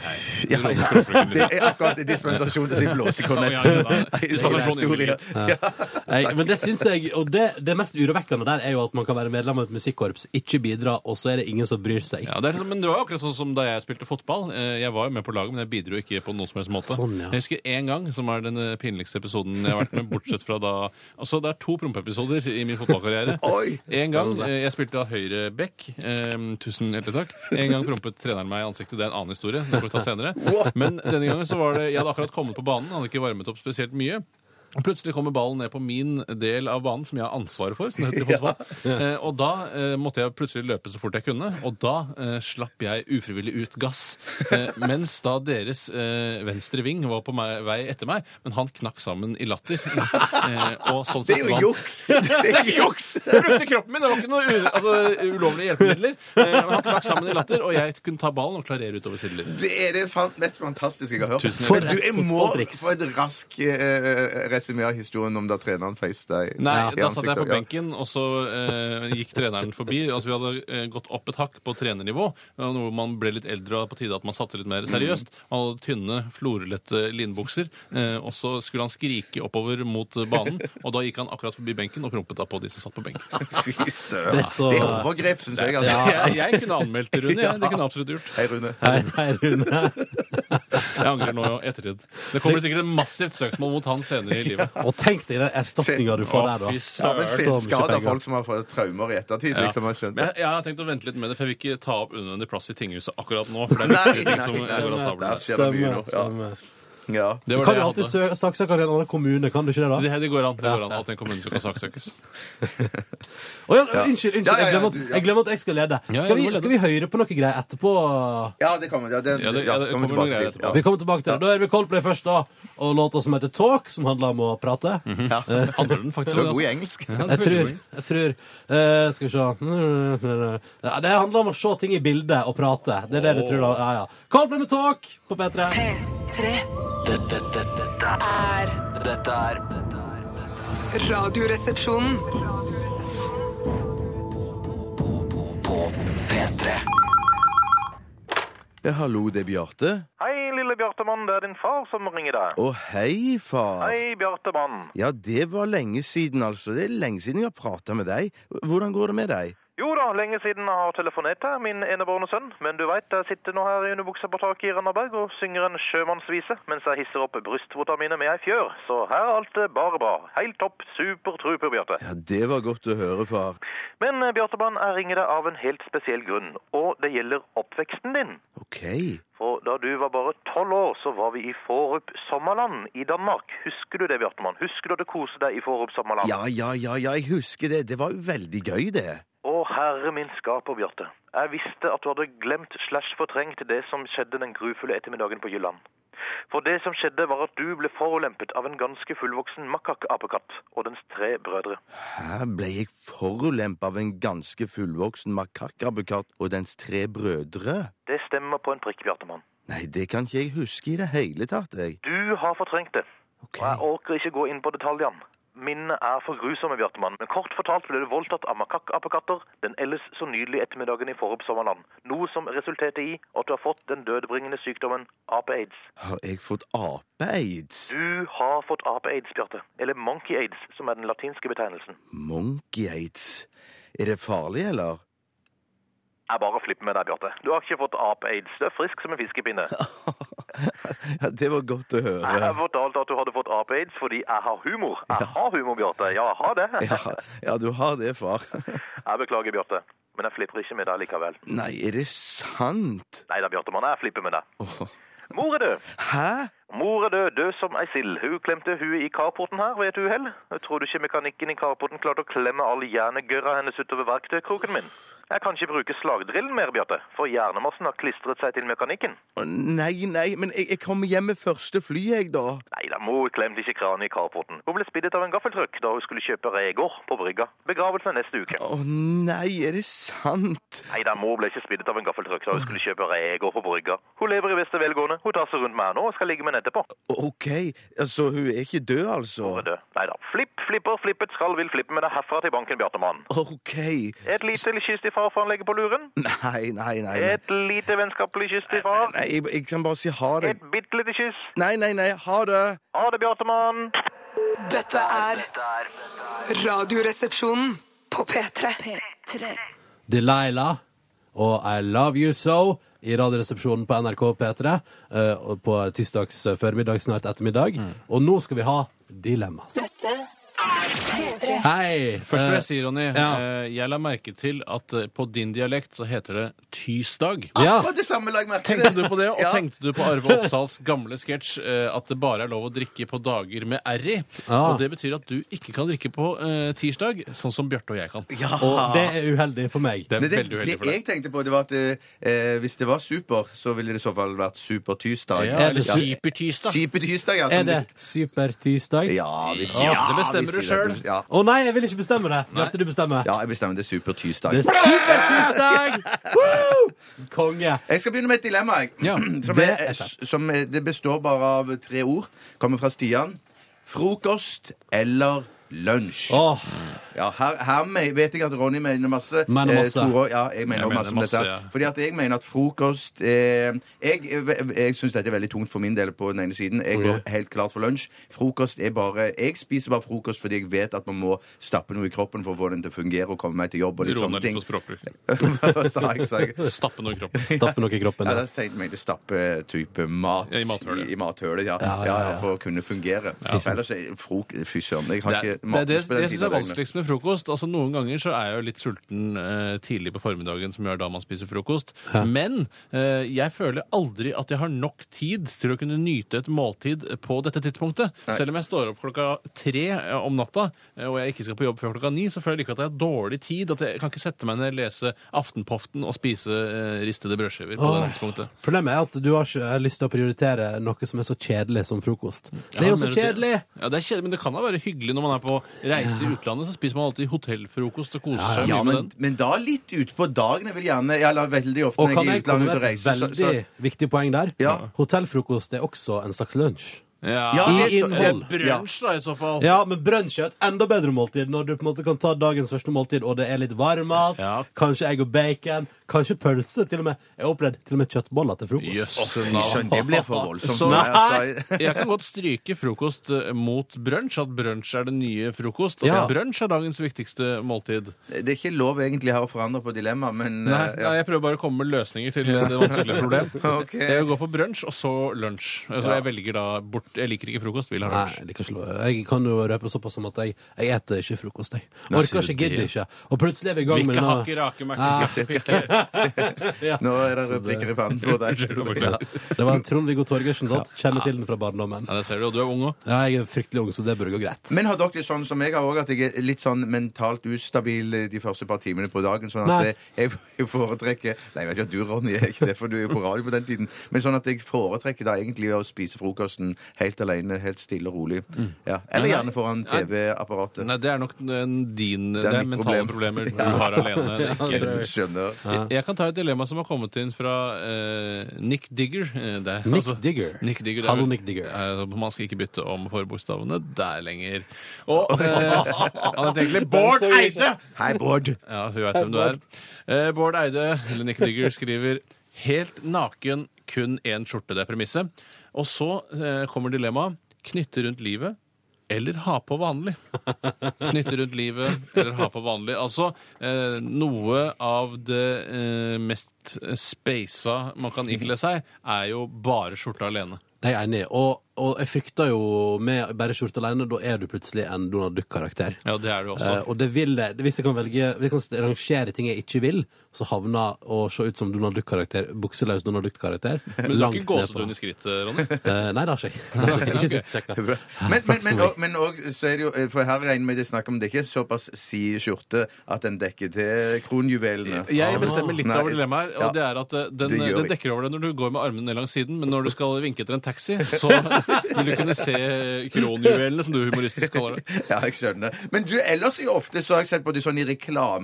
Ja,
hei. Du
ja.
låter språkbruken din.
Det er akkurat dispensasjon til å si blåse i
Ja,
kornetten.
ja, ja.
Nei,
Det er
sånn er
sånn
historien.
Nei, men det syns jeg Og det, det mest urovekkende der er jo at man kan være medlem av et musikkorps, ikke bidra, og så er det ingen som bryr seg.
Ja, det er, sånn- men det var jo akkurat sånn som da jeg spilte fotball. Eh, Jeg var jo med på laget, men jeg bidro ikke på noen som helst måte.
Sånn, ja.
Jeg husker én gang, som er den eh, pinligste episoden jeg har vært med, bortsett fra da Altså, det er to prompeepisoder i min fotballkarriere.
Oi!
En gang eh, jeg spilte da høyre back. Eh, tusen hjertelig takk. En gang prompet treneren meg i ansiktet. Det er en annen historie. Det får vi ta senere. Men denne gangen så var det Jeg hadde akkurat kommet på banen, hadde ikke varmet opp spesielt mye. Plutselig kommer ballen ned på min del av banen, som jeg har ansvaret for. Som det heter i fotball. Eh, og da eh, måtte jeg plutselig løpe så fort jeg kunne, og da eh, slapp jeg ufrivillig ut gass. Eh, mens da deres eh, venstre ving var på meg, vei etter meg, men han knakk sammen i latter. Eh, og sånn
Det
sett
er
vant-
jo juks! Det er ikke juks!
jeg brukte kroppen min. Det var ikke noe u altså, ulovlige hjelpemidler. Eh, men han knakk sammen i latter, og jeg kunne ta ballen og klarere utover sidelinjen.
Det er det fan- mest fantastiske jeg har hørt.
Tusen
Men
takk.
du, jeg
For et
må
fotballtriks.
få et rask uh, resymé av historien om da treneren feiste deg
Nei,
i
da satt jeg på
ansiktet. Ja.
benken, og så eh, gikk treneren forbi. Altså, Vi hadde eh, gått opp et hakk på trenernivå, eh, hvor man ble litt eldre og på tide at man satte litt mer seriøst.
Mm.
Han hadde tynne, florlette linbukser, eh, og så skulle han skrike oppover mot eh, banen. Og da gikk han akkurat forbi benken og prompet da på de som satt på benken.
Fy søren.
Det
Det
er så-
er overgrep, syns jeg. Altså.
Jeg, jeg kunne anmeldt Rune, jeg. Det kunne jeg absolutt gjort.
Hei, Rune.
Nei, nei, Rune.
Jeg angrer nå i ettertid. Det kommer sikkert et massivt søksmål mot han senere i livet.
Og tenk deg den erstatninga du får
Å,
der,
fy
da.
Ja, men
søren.
så mye
Senskader
penger.
folk som har fått traumer i ettertid,
Ja.
liksom. Jeg
Men
skjønner.
jeg, jeg har tenkt å vente litt med det, for jeg vil ikke ta opp unødvendig plass i tinghuset akkurat nå. For det er
Nei,
viktige ting
nei,
som
stemmer.
går av stabelen
Der
her.
skjer det mye nå. Ja.
stemme.
Ja.
Det var
Kan
det
du
jeg
alltid
hadde.
sø- saksøke i en annen kommune, kan du ikke det, da?
Det, det går an. det går an. Alt i en kommune som kan saksøkes.
Å ja, unnskyld, unnskyld.
Ja, ja, ja,
Jeg glemmer at-
du- ja.
jeg glemmer at jeg skal lede.
Ja, ja,
Skal vi,
du må lede.
skal vi høre på noe greier etterpå?
ja, det kommer ja, det,
Ja, det-
ja,
ja,
kommer
det kommer noen
tilbake
greier
til.
etterpå.
Ja.
Vi kommer tilbake til det. Da er vi Coldplay først, da. Og låta som heter Talk, som handler om å prate.
Mhm.
Handler den
Du
faktisk om
er god
det?
i
Altså.
engelsk.
Ja,
Jeg
det er
tror,
veldig god.
jeg tror eh, Skal vi se ja, Det handler om å se ting i bildet og prate. Det er det du tror, da. Ja, ja. Coldplay med Talk på P3.
P3
Dette, dette, dette, er-
er
dette er dette er- dette er
Radioresepsjonen.
På P3
Ja, hallo, det er Bjarte.
Hei, lille Bjartemann, det er din far som ringer deg.
Å, hei, far.
Hei, Bjartemann.
Ja, det var lenge siden, altså. Det er lenge siden jeg har prata med deg. Hvordan går det med deg?
Jo da, lenge siden jeg har telefonert deg, min enebårne sønn. Men du veit, jeg sitter nå her i underbuksa på taket i Randaberg og synger en sjømannsvise mens jeg hisser opp brystvorta mine med ei fjør. Så her er alt eh, bare bra. Heilt topp. Super truper, Bjarte.
Ja, Det var godt å høre, far.
Men eh, Bjartemann, jeg ringer deg av en helt spesiell grunn, og det gjelder oppveksten din.
OK.
For da du var bare tolv år, så var vi i Forup Sommerland i Danmark. Husker du det, Bjartemann? Husker du at du koste deg i Forup Sommerland?
Ja, ja, ja, ja, jeg husker det. Det var jo veldig gøy, det.
Å, herre min skaper, Bjarte. Jeg visste at du hadde glemt slash fortrengt det som skjedde den grufulle ettermiddagen på Jylland. For det som skjedde, var at du ble forulempet av en ganske fullvoksen makakapekatt og dens tre brødre.
Her ble jeg forulempa av en ganske fullvoksen makakabekatt og dens tre brødre.
Det stemmer på en prikk, Bjartemann.
Nei, det kan ikke jeg huske i det hele tatt, jeg.
Du har fortrengt det.
Ok.
Og jeg orker ikke gå inn på detaljene. Minnet er for grusomme, Bjartemann. Men kort fortalt ble du voldtatt av makakkapekatter den ellers så nydelige ettermiddagen i Forup sommerland. Noe som resulterte i at du har fått den dødbringende sykdommen ape-aids.
Har jeg fått ape-aids?
Du har fått ape-aids, Bjarte. Eller monkey-aids, som er den latinske betegnelsen.
Monkey-aids? Er det farlig, eller?
Jeg bare flipper med deg, Bjarte. Du har ikke fått ape-aids. Du er frisk som en fiskepinne.
Ja, det var godt å
Jeg
høre.
har fortalt at du hadde fått ap-aids fordi jeg har humor. Jeg har humor, Bjarte. Ja, jeg har det.
Ja, ja, du har det, far.
Jeg beklager, Bjarte. Men jeg flipper ikke med deg likevel.
Nei, er det sant?
Nei da, Bjartemann, jeg flipper med deg.
Åh.
Mor er død.
Hæ?
Mor er død, død som ei sild. Hun klemte huet i carporten her ved et uhell. Tror du ikke mekanikken i carporten klarte å klemme all hjernegørra hennes utover verktøykroken min? Jeg kan ikke bruke slagdrillen mer, Bjarte, for hjernemassen har klistret seg til mekanikken.
Å, Nei, nei, men jeg, jeg kommer hjem med første fly, jeg, da.
Nei da, mor klemte ikke kranen i carporten. Hun ble spiddet av en gaffeltrøkk da hun skulle kjøpe reker på brygga. Begravelse er neste uke.
Å nei, er det sant?
Nei da, mor ble ikke spiddet av en gaffeltrøkk da hun skulle kjøpe reker på brygga. Hun lever i beste velgående. Hun tar seg rundt meg nå og skal ligge med henne etterpå.
OK, altså hun er ikke død, altså?
Mor er død. Nei da. Flipp, flipper, flippet skal vil flippe med deg herfra til banken, Bjartemann.
OK.
Et lite kyss til far for han legger på luren.
Nei, nei, nei. nei.
Et lite vennskapelig kyss til far.
Nei, jeg, jeg kan bare si ha det.
Et bitte lite kyss.
Nei, nei, nei, ha det.
Ha det, Bjartemann.
Dette er Radioresepsjonen på P3.
Delilah og I Love You So i Radioresepsjonen på NRK P3 eh, og på tirsdags eh, formiddag, snart ettermiddag.
Mm.
Og nå skal vi ha Dilemmas. Hei!
Først vil
Eh,
jeg si, Ronny,
ja.
eh, jeg la merke til at eh, på din dialekt så heter det tysdag.
Ah, ja.
Akkurat det samme lag merke
Tenkte Ah. du på det, og
Ja.
tenkte du på Arve Oppsals gamle sketsj eh, at det bare er lov å drikke på dager med r i?
Ah.
Og det betyr at du ikke kan drikke på eh, tirsdag, sånn som Bjarte og jeg kan.
Og det er uheldig for meg.
Det er
Nei, det,
veldig uheldig
det
for deg.
jeg tenkte på, det var at eh, hvis det var super, så ville det i så fall vært supertysdag.
Ja,
Er
eller
det-
supertirsdag.
Supertysdag, ja. som
Er det supertirsdag?
det- Ja, vi sier-
Ja,
ja,
det bestemmer
vi
du
sier det.
selv.
Ja.
Å nei, jeg vil ikke bestemme det. Bjarte, du bestemmer.
ja, jeg bestemmer det er supertysdag.
Det er supertirsdag! Woo! Konge.
Jeg skal begynne med et dilemma. Jeg.
Ja,
som,
det
det
er
er, som er, det består bare av tre ord. Kommer fra Stian. Frokost eller lunsj?
Åh,
Ja, her, her me- vet jeg at Ronny mener masse.
Mener
Eh,
masse.
Tore, ja, jeg mener,
Jeg
også masse, om
mener masse,
dette.
ja.
Fordi at jeg mener at frokost eh, Jeg, jeg syns dette er veldig tungt for min del på den ene siden. Jeg går
Mhm.
helt klart for lunsj. Frokost er bare Jeg spiser bare frokost fordi jeg vet at man må stappe noe i kroppen for å få den til å fungere og komme meg til jobb og litt
Ro
sånne
ned litt
ting.
på språkbruken.
Hva sa jeg, sa jeg?
Stappe noe i kroppen.
stappe noe i kroppen.
Ja,
da.
da tenkte jeg meg til stappe-type mat
Ja, i mathølet.
i mathølet, ja. Ja,
ja,
ja,
ja.
For å kunne fungere. Ellers er frok... Fy søren, jeg har
Det,
ikke
er- det, er det,
matlyst på
det
den tiden
synes jeg er
av døgnet.
vanskeligst med frokost. Altså Noen ganger så er jeg jo litt sulten eh, tidlig på formiddagen, som gjør da man spiser frokost. Men eh, jeg føler aldri at jeg har nok tid til å kunne nyte et måltid på dette tidspunktet. Selv om jeg står opp klokka tre eh, om natta, eh, og jeg ikke skal på jobb før klokka ni, så føler jeg ikke at jeg har dårlig tid. At jeg kan ikke sette meg ned, lese Aftenpoften og spise eh, ristede brødskiver på
Åh.
det tidspunktet.
Problemet er at du har ikke eh, lyst til å prioritere noe som er så kjedelig som frokost. Det er jo
Ja,
så
mener du det?
kjedelig!
Ja, det er kjedelig, Men det kan da være hyggelig når man er på reise i utlandet. Så spiser man alltid hotellfrokost og koser seg
Ja,
mye med
men,
den.
men da litt utpå dagen. Jeg vil gjerne Jeg lar veldig ofte
Og
når
kan
jeg er i
jeg
utlandet
komme med
ut og
et
reiser, så,
veldig
så
viktig poeng der?
Ja.
Hotellfrokost er også en slags lunsj.
Ja,
I
det er så-
innhold.
det er Ja.
Brunsj, da, i så fall.
Ja, men brunsj er et enda bedre måltid når du på en måte kan ta dagens første måltid, og det er litt varm mat,
Ja.
kanskje egg og bacon, kanskje pølse, til og med. Jeg har opplevd til og med kjøttboller til frokost.
Jøss,
Fy
navn.
søren, det blir for voldsomt.
Så-
altså.
Jeg kan godt stryke frokost eh, mot brunsj, at brunsj er den nye frokost. At
Ja.
brunsj er dagens viktigste måltid.
Det er ikke lov egentlig her å forandre på dilemmaet, men
Nei,
eh,
nei, jeg prøver bare å komme med løsninger til det vanskelige problem.
ja. Ok.
Jeg går for brunsj, og så lunsj. Altså,
Ja.
jeg velger da bort Jeg liker ikke frokost, vil ha
Nei,
lunsj.
jeg, liker ikke, lo- jeg kan jo røpe såpass som at jeg, jeg eter ikke frokost, jeg.
Nei,
Orker ikke,
sier du det?
gidder ikke. Og plutselig er vi i gang med
Hvilke
denne-
hakker, rake,
Ah.
merker, skaffe, pikke.
Ja.
Nå er det replikker i pannen på deg.
Ja.
Det var en Trond-Viggo Torgersen, sant? Kjenner til den fra barndommen.
Ja, det ser du, og du er ung òg.
Ja, jeg er fryktelig ung, så det burde gå greit.
Men har dere det sånn som jeg har òg, at jeg er litt sånn mentalt ustabil eh, de første par timene på dagen? Sånn at
Nei.
eh, jeg jeg foretrekker Nei, jeg vet ikke at du, Ronny, er ikke det, for du er jo på radio på den tiden. Men sånn at jeg foretrekker da egentlig å spise frokosten helt alene, helt stille og rolig. Ja. Eller
Mm. Nei, nei.
gjerne foran
Nei.
TV-apparatet.
Nei, det er nok en- din Det
er
er
mitt
mentale
problem.
problemer du har alene. Det er
Ja,
ikke
Jeg Skjønner.
Jeg- Jeg kan ta et dilemma som har kommet inn fra eh, Nick Digger. eh, det er-
Nick Digger.
Nick Digger det er
Hallo,
vel-
Nick Digger.
Eh, man skal ikke bytte om forbokstavene der lenger. Og eh, han heter egentlig Bård Eide!
Hei, Bård.
Ja, så vi vet hvem du er. Eh, Bård Eide, eller Nick Digger, skriver Helt naken, kun én skjorte. Det er premisset. Og så eh, kommer dilemmaet. Knytte rundt livet Eller ha på vanlig. Knytte rundt livet, eller ha på vanlig. Altså eh, noe av det eh, mest spasa man kan ikle seg, er jo bare skjorte alene.
Det er jeg enig i. Og, og jeg frykter jo med bare skjorte alene, da er du plutselig en Donald Duck-karakter.
Ja, det er det også.
Eh, og det vil jeg, hvis jeg kan velge Hvis jeg kan rangere ting jeg ikke vil, så havner å se ut som Donald Duck-karakter, bukseløs Donald Duck-karakter,
Men du har ikke
langt ned på
gåsehud i skrittet, Ronny?
Eh, Nei, det har ikke jeg. Det har ikke jeg. Ikke sist jeg sjekket.
Men, men, men, og, men og, så er det jo, eh, for her regner vi det er snakk om det ikke er såpass si skjorte at den dekker til kronjuvelene.
Eh, Jeg bestemmer litt
Nei,
over dilemmaet her, og
ja.
det er at eh, den,
Det gjør
den
vi.
dekker over deg når du går med armene ned langs siden, men når du skal vinke etter en taxi, så vil du kunne se kronjuvelene, som du humoristisk kaller det.
Ja, jeg skjønner. Men du, ellers jo ofte så har jeg sett både sånn i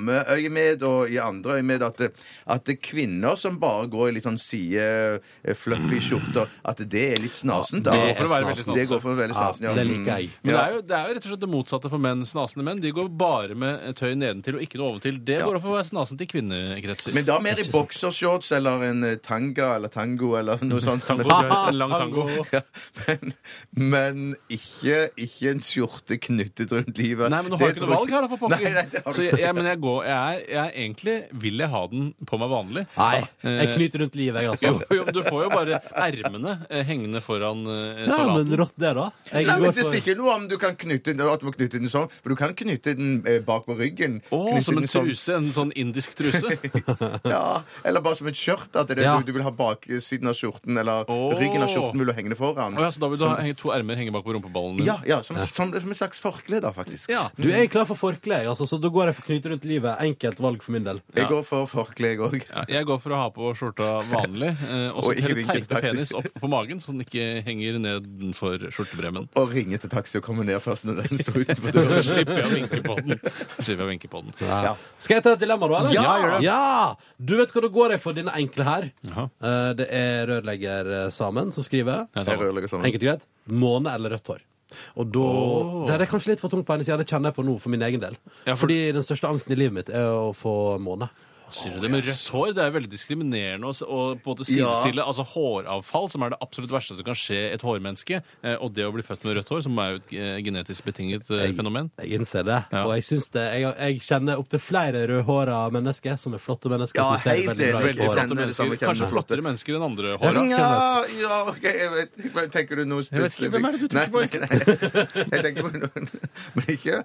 reklameøyemed og i andre øyemed at, det- at det er kvinner som bare går i litt sånn side eh,
Mm.
fluffy skjorter, at det er litt snasen. Da.
det går for å være veldig snasen.
Det går for å være veldig snasen, ja.
Det liker jeg.
Men det, er jo, det er jo rett og slett det motsatte for menn. Snasende menn de går bare med tøy nedentil og ikke noe oventil. Det går an for å være snasen til kvinnekretser.
Men da mer i boksershorts eller en eh, tanga eller tango eller noe sånt.
en lang tango.
Ja, men men ikke, ikke en skjorte knyttet rundt livet.
Nei, men nå har jeg ikke noe valg her, da, for pokker.
Nei, nei, det har
Så
du
jeg, jeg, men jeg går, jeg er, jeg er egentlig Vil jeg ha den på meg vanlig?
Nei,
Eh,
jeg knyter rundt livet, jeg,
Jo,
altså.
jo, men du får jo bare ermene eh, hengende foran eh,
Ja, men
salaten.
rått det, da. Jeg
Nei, men
går
Det
for-
sier ikke noe om du kan knytte den, at du må knytte den sånn, for du kan knytte den eh, bak på ryggen.
Å,
Knytte
som en
den sånn-
truse. En sånn indisk truse.
Ja, eller bare som et skjørt. At det er det
Ja.
du, du vil ha baksiden av skjorten, eller
Åh.
ryggen av skjorten vil du henge det foran.
Å ja, så da vil du ha henge- to ermer henge bak på rumpeballen din.
Ja, ja som, som, som et slags forkle, da, faktisk.
Ja.
Du er klar for forkle, jeg, altså, så da går jeg for knyte rundt livet. Enkelt valg for min del.
Jeg går for forkle, jeg òg.
Ja, Jeg går for å ha på skjorta vanlig, eh, og så
Og ikke
heller teipe
vinkeltaxi.
penis opp på magen, så den ikke henger nedenfor skjortebremmen.
Og ringe til taxi og komme ned først når den står utenfor døren.
Slipper jeg å vinke på den. Slipper jeg å vinke på den.
Ja.
Skal jeg ta et dilemma, da? eller?
Ja, gjør det.
Ja! Du vet hva det går i for denne enkle her.
Jaha.
Eh, Det er rørlegger eh, Samen som skriver.
Jeg
Jeg
sa det.
rører litt sånn.
Enkelt og greit. Måne eller rødt hår. Og da Det er kanskje litt for tungt på hennes side, det kjenner jeg på nå for min egen del.
Ja, for-
Fordi den største angsten i livet mitt er å få måne.
Sier du det med rødt hår? Det er veldig diskriminerende å s- å på en måte sidestille altså håravfall, som er det absolutt verste som kan skje et hårmenneske, eh, og det å bli født med rødt hår, som er jo et eh, genetisk betinget eh, fenomen.
Jeg innser det.
Ja.
Og jeg syns det. Jeg, jeg kjenner opptil flere rødhåra mennesker som er flotte mennesker.
Ja,
som ser
helt
veldig bra
enig.
ut på
Veldig
håret.
flotte
Kjenner det samme,
mennesker. Kanskje
kjenner flotte.
flottere mennesker enn andre
Ja,
hår.
ja, ok, jeg vet ikke. Tenker du noe
Jeg vet ikke,
spesifikt?
hvem er det du tenker på,
Nei, nei, nei. Jeg tenker på noen Men ikke,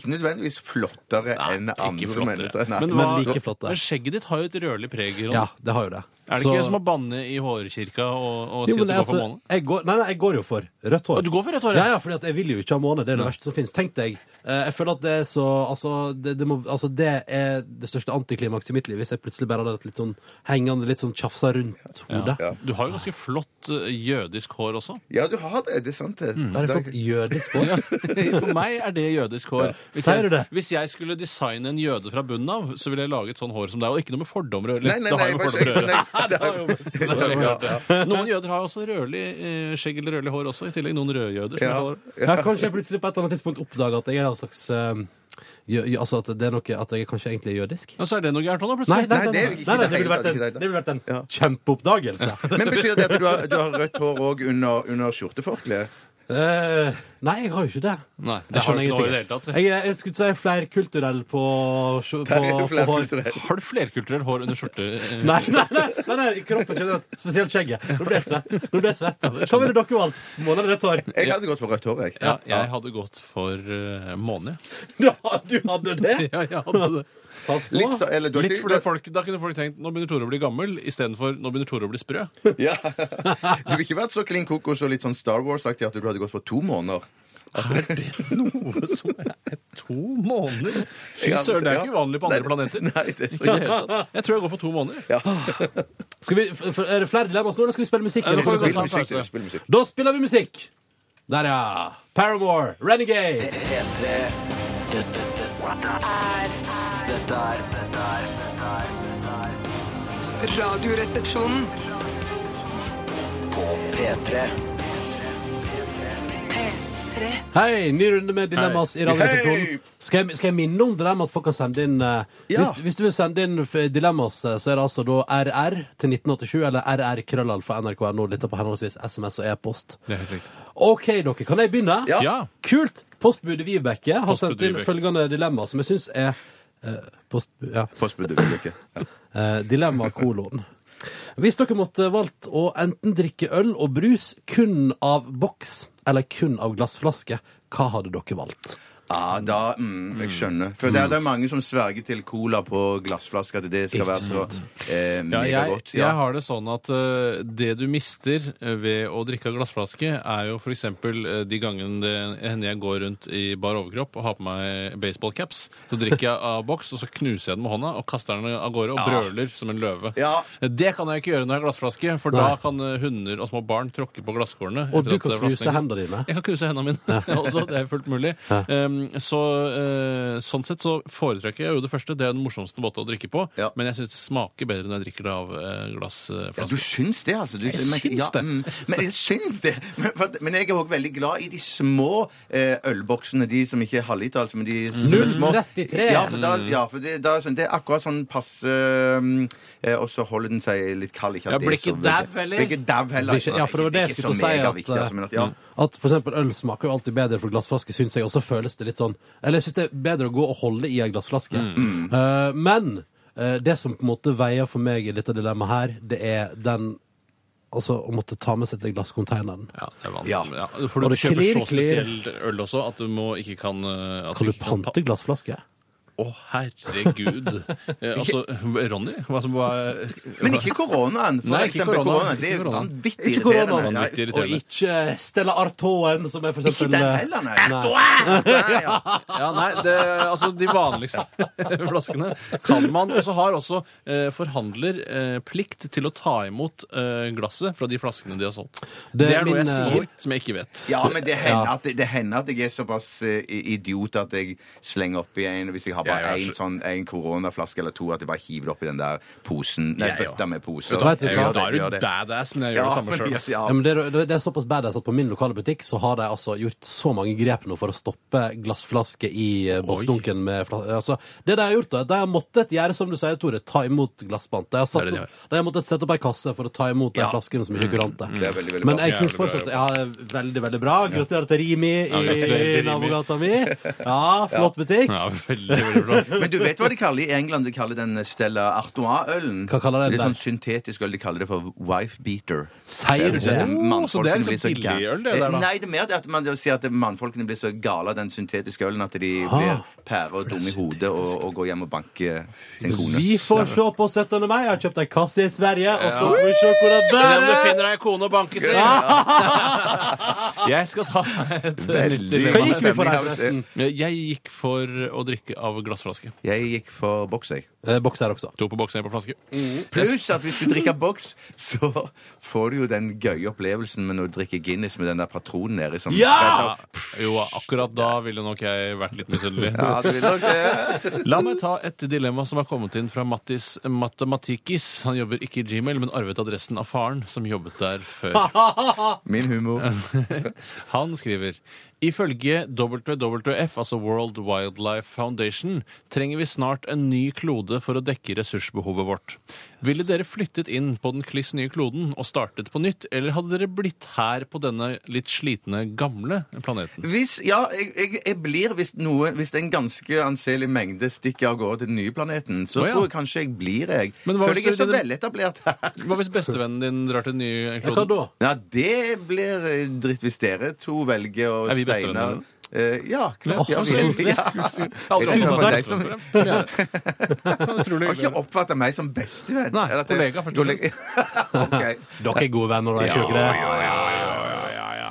ikke nødvendigvis flottere enn
Ikke
andre
flottere.
mennesker. Nei.
Men,
Men
hva-
like flotte.
Men skjegget ditt har jo et rødlig preg. Ron.
Ja, det har jo det.
Er det
Så-
ikke som å banne i hårkirka og, og si
Jo, men
at du går for
altså,
månen?
jeg går, nei, nei, jeg går jo for rødt hår.
Å, du går for rødt hår, ja?
ja? Ja, fordi at jeg vil jo ikke ha måne. Det er det verste som finnes. Tenk deg. eh, Jeg føler at det er så Altså, det, det, må, altså, det er det største antiklimaks i mitt liv hvis jeg plutselig bare hadde et litt sånn hengende, litt sånn tjafsa rundt hodet.
Ja.
Du har jo ganske flott eh, jødisk hår også.
Ja, du har det. Det er sant, det.
Mm.
Har jeg fått jødisk hår?
For meg er det jødisk hår. Hvis
Sier du
jeg,
det?
hvis jeg skulle designe en jøde fra bunnen av, så ville jeg laget sånn hår som deg. Og ikke noe med fordommer å gjøre.
Nei, nei,
Det har
nei,
jo med
for-
fordommer å gjøre.
nei, det har-
Det har jeg klart, ja. Noen jøder har jo også rødlig eh, skjegg eller rødlig hår også, i tillegg noen rødjøder. som
Ja.
jeg kaller det.
Ja, kanskje jeg plutselig på et eller annet tidspunkt oppdager at jeg er en slags eh, jø, jø- Altså at det er noe At jeg kanskje egentlig er jødisk.
Ja, så er det noe gærent nå, da,
Nei,
plutselig.
nei, nei,
Nei,
nei,
det er jo
nei,
ikke
nei,
det
det ville
hele
vært
tatt,
en,
ikke det hele tatt.
det ville vært en
Ja.
kjempeoppdagelse.
Men betyr det at du har, du har rødt hår òg under, under skjorteforkleet?
Eh, nei, jeg har jo ikke det.
Nei,
Jeg
det har
skjønner
du ikke noe i
ingenting.
det hele tatt.
Jeg, jeg skulle si flerkulturell på, på, på, på hår.
Flerkulturell.
Har du flerkulturelt hår under skjorte? eh,
Nei, nei, nei, nei, nei, kroppen generelt. Spesielt skjegget. Nå ble jeg svett. Nå ble jeg svett. Hva vil dere valgt? Måned eller tår?
Jeg hadde gått for rødt hår, jeg.
Ja, jeg hadde gått for uh, måne.
Ja, du hadde det?
Ja, jeg hadde det.
Pass på.
Litt, så, eller, du har
Litt
ikke-
fordi folk, Da kunne folk tenkt nå begynner Tore å bli gammel, istedenfor nå begynner Tore å bli sprø.
Ja. Du ville ikke vært så klin kokos og litt sånn Star Wars-aktig at du hadde gått for to måneder.
Er det noe som er to måneder? Fy
Ja,
søren, det er
ja.
ikke uvanlig på andre
Nei,
planeter.
Nei, det er
Ikke i
så
det hele tatt. Jeg tror jeg går for to måneder.
Skal vi, f- f- er det flere dilemmaer nå, eller skal vi spille musikk?
Ja, nå får vi
Spill
ta en
musikk, du.
pause.
Spill musikk.
Da spiller vi musikk. Der, ja. Paramore, Renegade.
P3 Dette er Dette er
Radioresepsjonen.
På P3
P3. P3.
Hei, ny runde med dilemmas i
Hei!
Radioresepsjonen. Skal, jeg- skal jeg minne om det der med at folk kan sende inn eh,
Ja.
hvis, hvis du vil sende inn f- dilemmas, eh, så er det altså da RR til 1987 eller rrkrøllalfa.nrk.no. Litt på henholdsvis SMS og e-post.
Det er helt riktig.
OK, dere. Kan jeg begynne?
Ja.
Ja.
Kult! Postbudet Vibeke har
Postbudet
sendt inn
Vibeke.
følgende dilemma, som jeg syns er eh, postbu- ja.
Postbudet vil ikke.
Eh, dilemma kolon. Hvis dere måtte valgt å enten drikke øl og brus kun av boks eller kun av glassflaske, hva hadde dere valgt?
Ja, da mm, Jeg skjønner. For det er, det er mange som sverger til cola på glassflaske at det skal
Ikke
være så eh,
Ja, jeg,
megagodt.
jeg har det sånn at eh, det du mister eh, ved å drikke av glassflaske, er jo f.eks. Uh, de gangene det hender jeg går rundt i bar overkropp og har på meg baseballcaps. Så drikker jeg av boks, og så knuser jeg den med hånda og kaster den av gårde og brøler som en løve.
Ja.
Det kan jeg ikke gjøre når jeg har glassflaske, for
Nei.
da kan eh, hunder og små barn tråkke på glasskårene.
Og
etter
du
at
kan
det er flasken
knuse
er knust.
hendene dine.
Jeg kan knuse hendene mine også, det er fullt mulig. Um, så, eh, sånn sett så foretrekker jeg jo det første. Det er den morsomste måten å drikke på.
Ja.
Men jeg syns det smaker bedre når jeg drikker det av eh,
Ja, du
glassflaske.
syns det, altså? Du, jeg
syns det.
men jeg syns det. Men, for, at- men jeg er òg veldig glad i de små eh, ølboksene. De som ikke er halvliter, altså, men de som er små.
0,33.
Ja, for, da, ja, for det, da, er sånn, det er akkurat sånn passe um, eh, Og så holder den seg litt kald. Ikke at
Ja,
det er
blir ikke
så veldig-
dau, eller?
Blir ikke dau heller.
Blir ikke- ja, for det var det jeg
Ikke så
skulle til å si,
megaviktig,
at, eh,
altså, men at, ja.
At for eksempel øl smaker jo alltid bedre fra glassflaske, syns jeg, og så føles det litt sånn Eller jeg syns det er bedre å gå og holde i ei glassflaske.
Mm.
Eh, men eh, det som på en måte veier for meg i dette dilemmaet her, det er den Altså å måtte ta med seg til glasscontaineren.
Ja, det er
Ja.
vanskelig. Ja. For
Og
du
det
kjøper
klirr,
så
klirr.
spesiell øl også at du må ikke kan eh, at
Kan du
ikke pa-
pante glassflaske?
Å, herregud. Eh, altså, Ronny? Hva som var
Men ikke koronaen. For
Nei, ikke
eksempel,
korona.
korona. Det er
Ikke
jo
korona.
vanvittig
Ikke
irriterende.
korona.
Nei,
Vanvittig
Og
irriterende.
ikke Stella Artoen, som er for
Ikke
eksempel
den
eh,
heller, nei.
Nei.
Nei, ja.
Ja, nei, det, altså De vanligste flaskene kan man. Og så har også eh, forhandler eh, plikt til å ta imot eh, glasset fra de flaskene de har solgt. Det,
Det er
er noe
min,
jeg
eh,
sier som jeg ikke vet.
Ja, men det hender, at, det hender at jeg er såpass eh, idiot at jeg slenger oppi en hvis jeg har
Jeg
bare
er
én
så-
sånn, en koronaflaske eller to, at jeg bare hiver det oppi den der posen Nei,
Jeg
bøtta
også.
med poser.
du hva, jeg tror
Jeg
Jeg
gjør
gjør det, da
jeg gjør
er du badass, men jeg gjør
Ja,
det samme
men
sjøl.
yes, ja.
Ja, men det, er- det er såpass badass at på min lokale butikk så har de altså gjort så mange grep nå for å stoppe glassflasker i eh, bossdunken med fla- altså, Det de har gjort, da, de har måttet gjøre som du sier, Tore, ta imot glasspant. De har, satt,
Det er det de
opp- de har måttet sette opp ei kasse for å ta imot de flaskene som ikke er kurante.
Det er veldig, veldig
Men
bra.
jeg
Jævlig
syns
bra
fortsatt ja, Veldig, veldig bra. Gratulerer til Rimi i
gratulerer til Rimi.
nabogata mi. Ja, flott butikk.
Ja, veldig, veldig bra. Oh,
Men du vet hva de kaller i England? De kaller den Stella Artois-ølen.
Hva kaller de
det er
den
sånn syntetisk øl. De kaller det for wife beater.
Sier du det?
Åh, så det er liksom billig øl, det der, da?
Nei, det er mer det at man sier at mannfolkene blir så gale av den syntetiske ølen at de
Ah.
blir pære og dumme i hodet og, og går hjem og banker sin kone.
Vi får se på 17. mai. Jeg har kjøpt ei kasse i Sverige, og så får vi se hvor det
Se om du
bærer.
finner deg en kone og banke seg! Jeg skal ta et nytt
Veldig
Hva
dilemma.
gikk vi for her,
Stemning her,
forresten?
Jeg gikk for å drikke av glassflaske.
Jeg gikk for boks, jeg.
Eh, Boks her også.
To på boksen, én på flaske.
Pluss at hvis du drikker boks, så får du jo den gøye opplevelsen med å drikke Guinness med den der patronen nedi som
Ja! Jo, akkurat da ville nok jeg vært litt misunnelig.
Ja, du vil nok det.
La meg ta et dilemma som er kommet inn fra Mattis Matematikis. Han jobber ikke i Gmail, men arvet adressen av faren, som jobbet der før.
Min humor.
Han skriver Ifølge WWF, altså World Wildlife Foundation, trenger vi snart en ny klode for å dekke ressursbehovet vårt. Ville dere flyttet inn på den kliss nye kloden og startet på nytt, eller hadde dere blitt her på denne litt slitne, gamle planeten?
Hvis, ja, jeg, jeg, jeg blir hvis noe Hvis en ganske anselig mengde stikker av gårde til den nye planeten, så
Å, ja.
tror jeg kanskje jeg blir jeg.
Men hva
Føler
hvis
jeg er
du-
så veletablert her.
Hva hvis bestevennen din drar til den nye
Hva
kloden?
da?
Ja, det blir eh, dritt hvis dere to velger å
Er vi
steine
bestevenner?
Eh, ja, klart.
Å,
Ja,
så
vi-
koselig.
ja.
Aldri
Jeg oppfattet
oppfattet deg som-
deg
Ja, utrolig
Har ikke
hyggelig.
oppfatta meg som bestevenn.
Nei,
Eller at jeg-
kollega først og
kollega- Ok.
Dere er gode venner, da. Ja,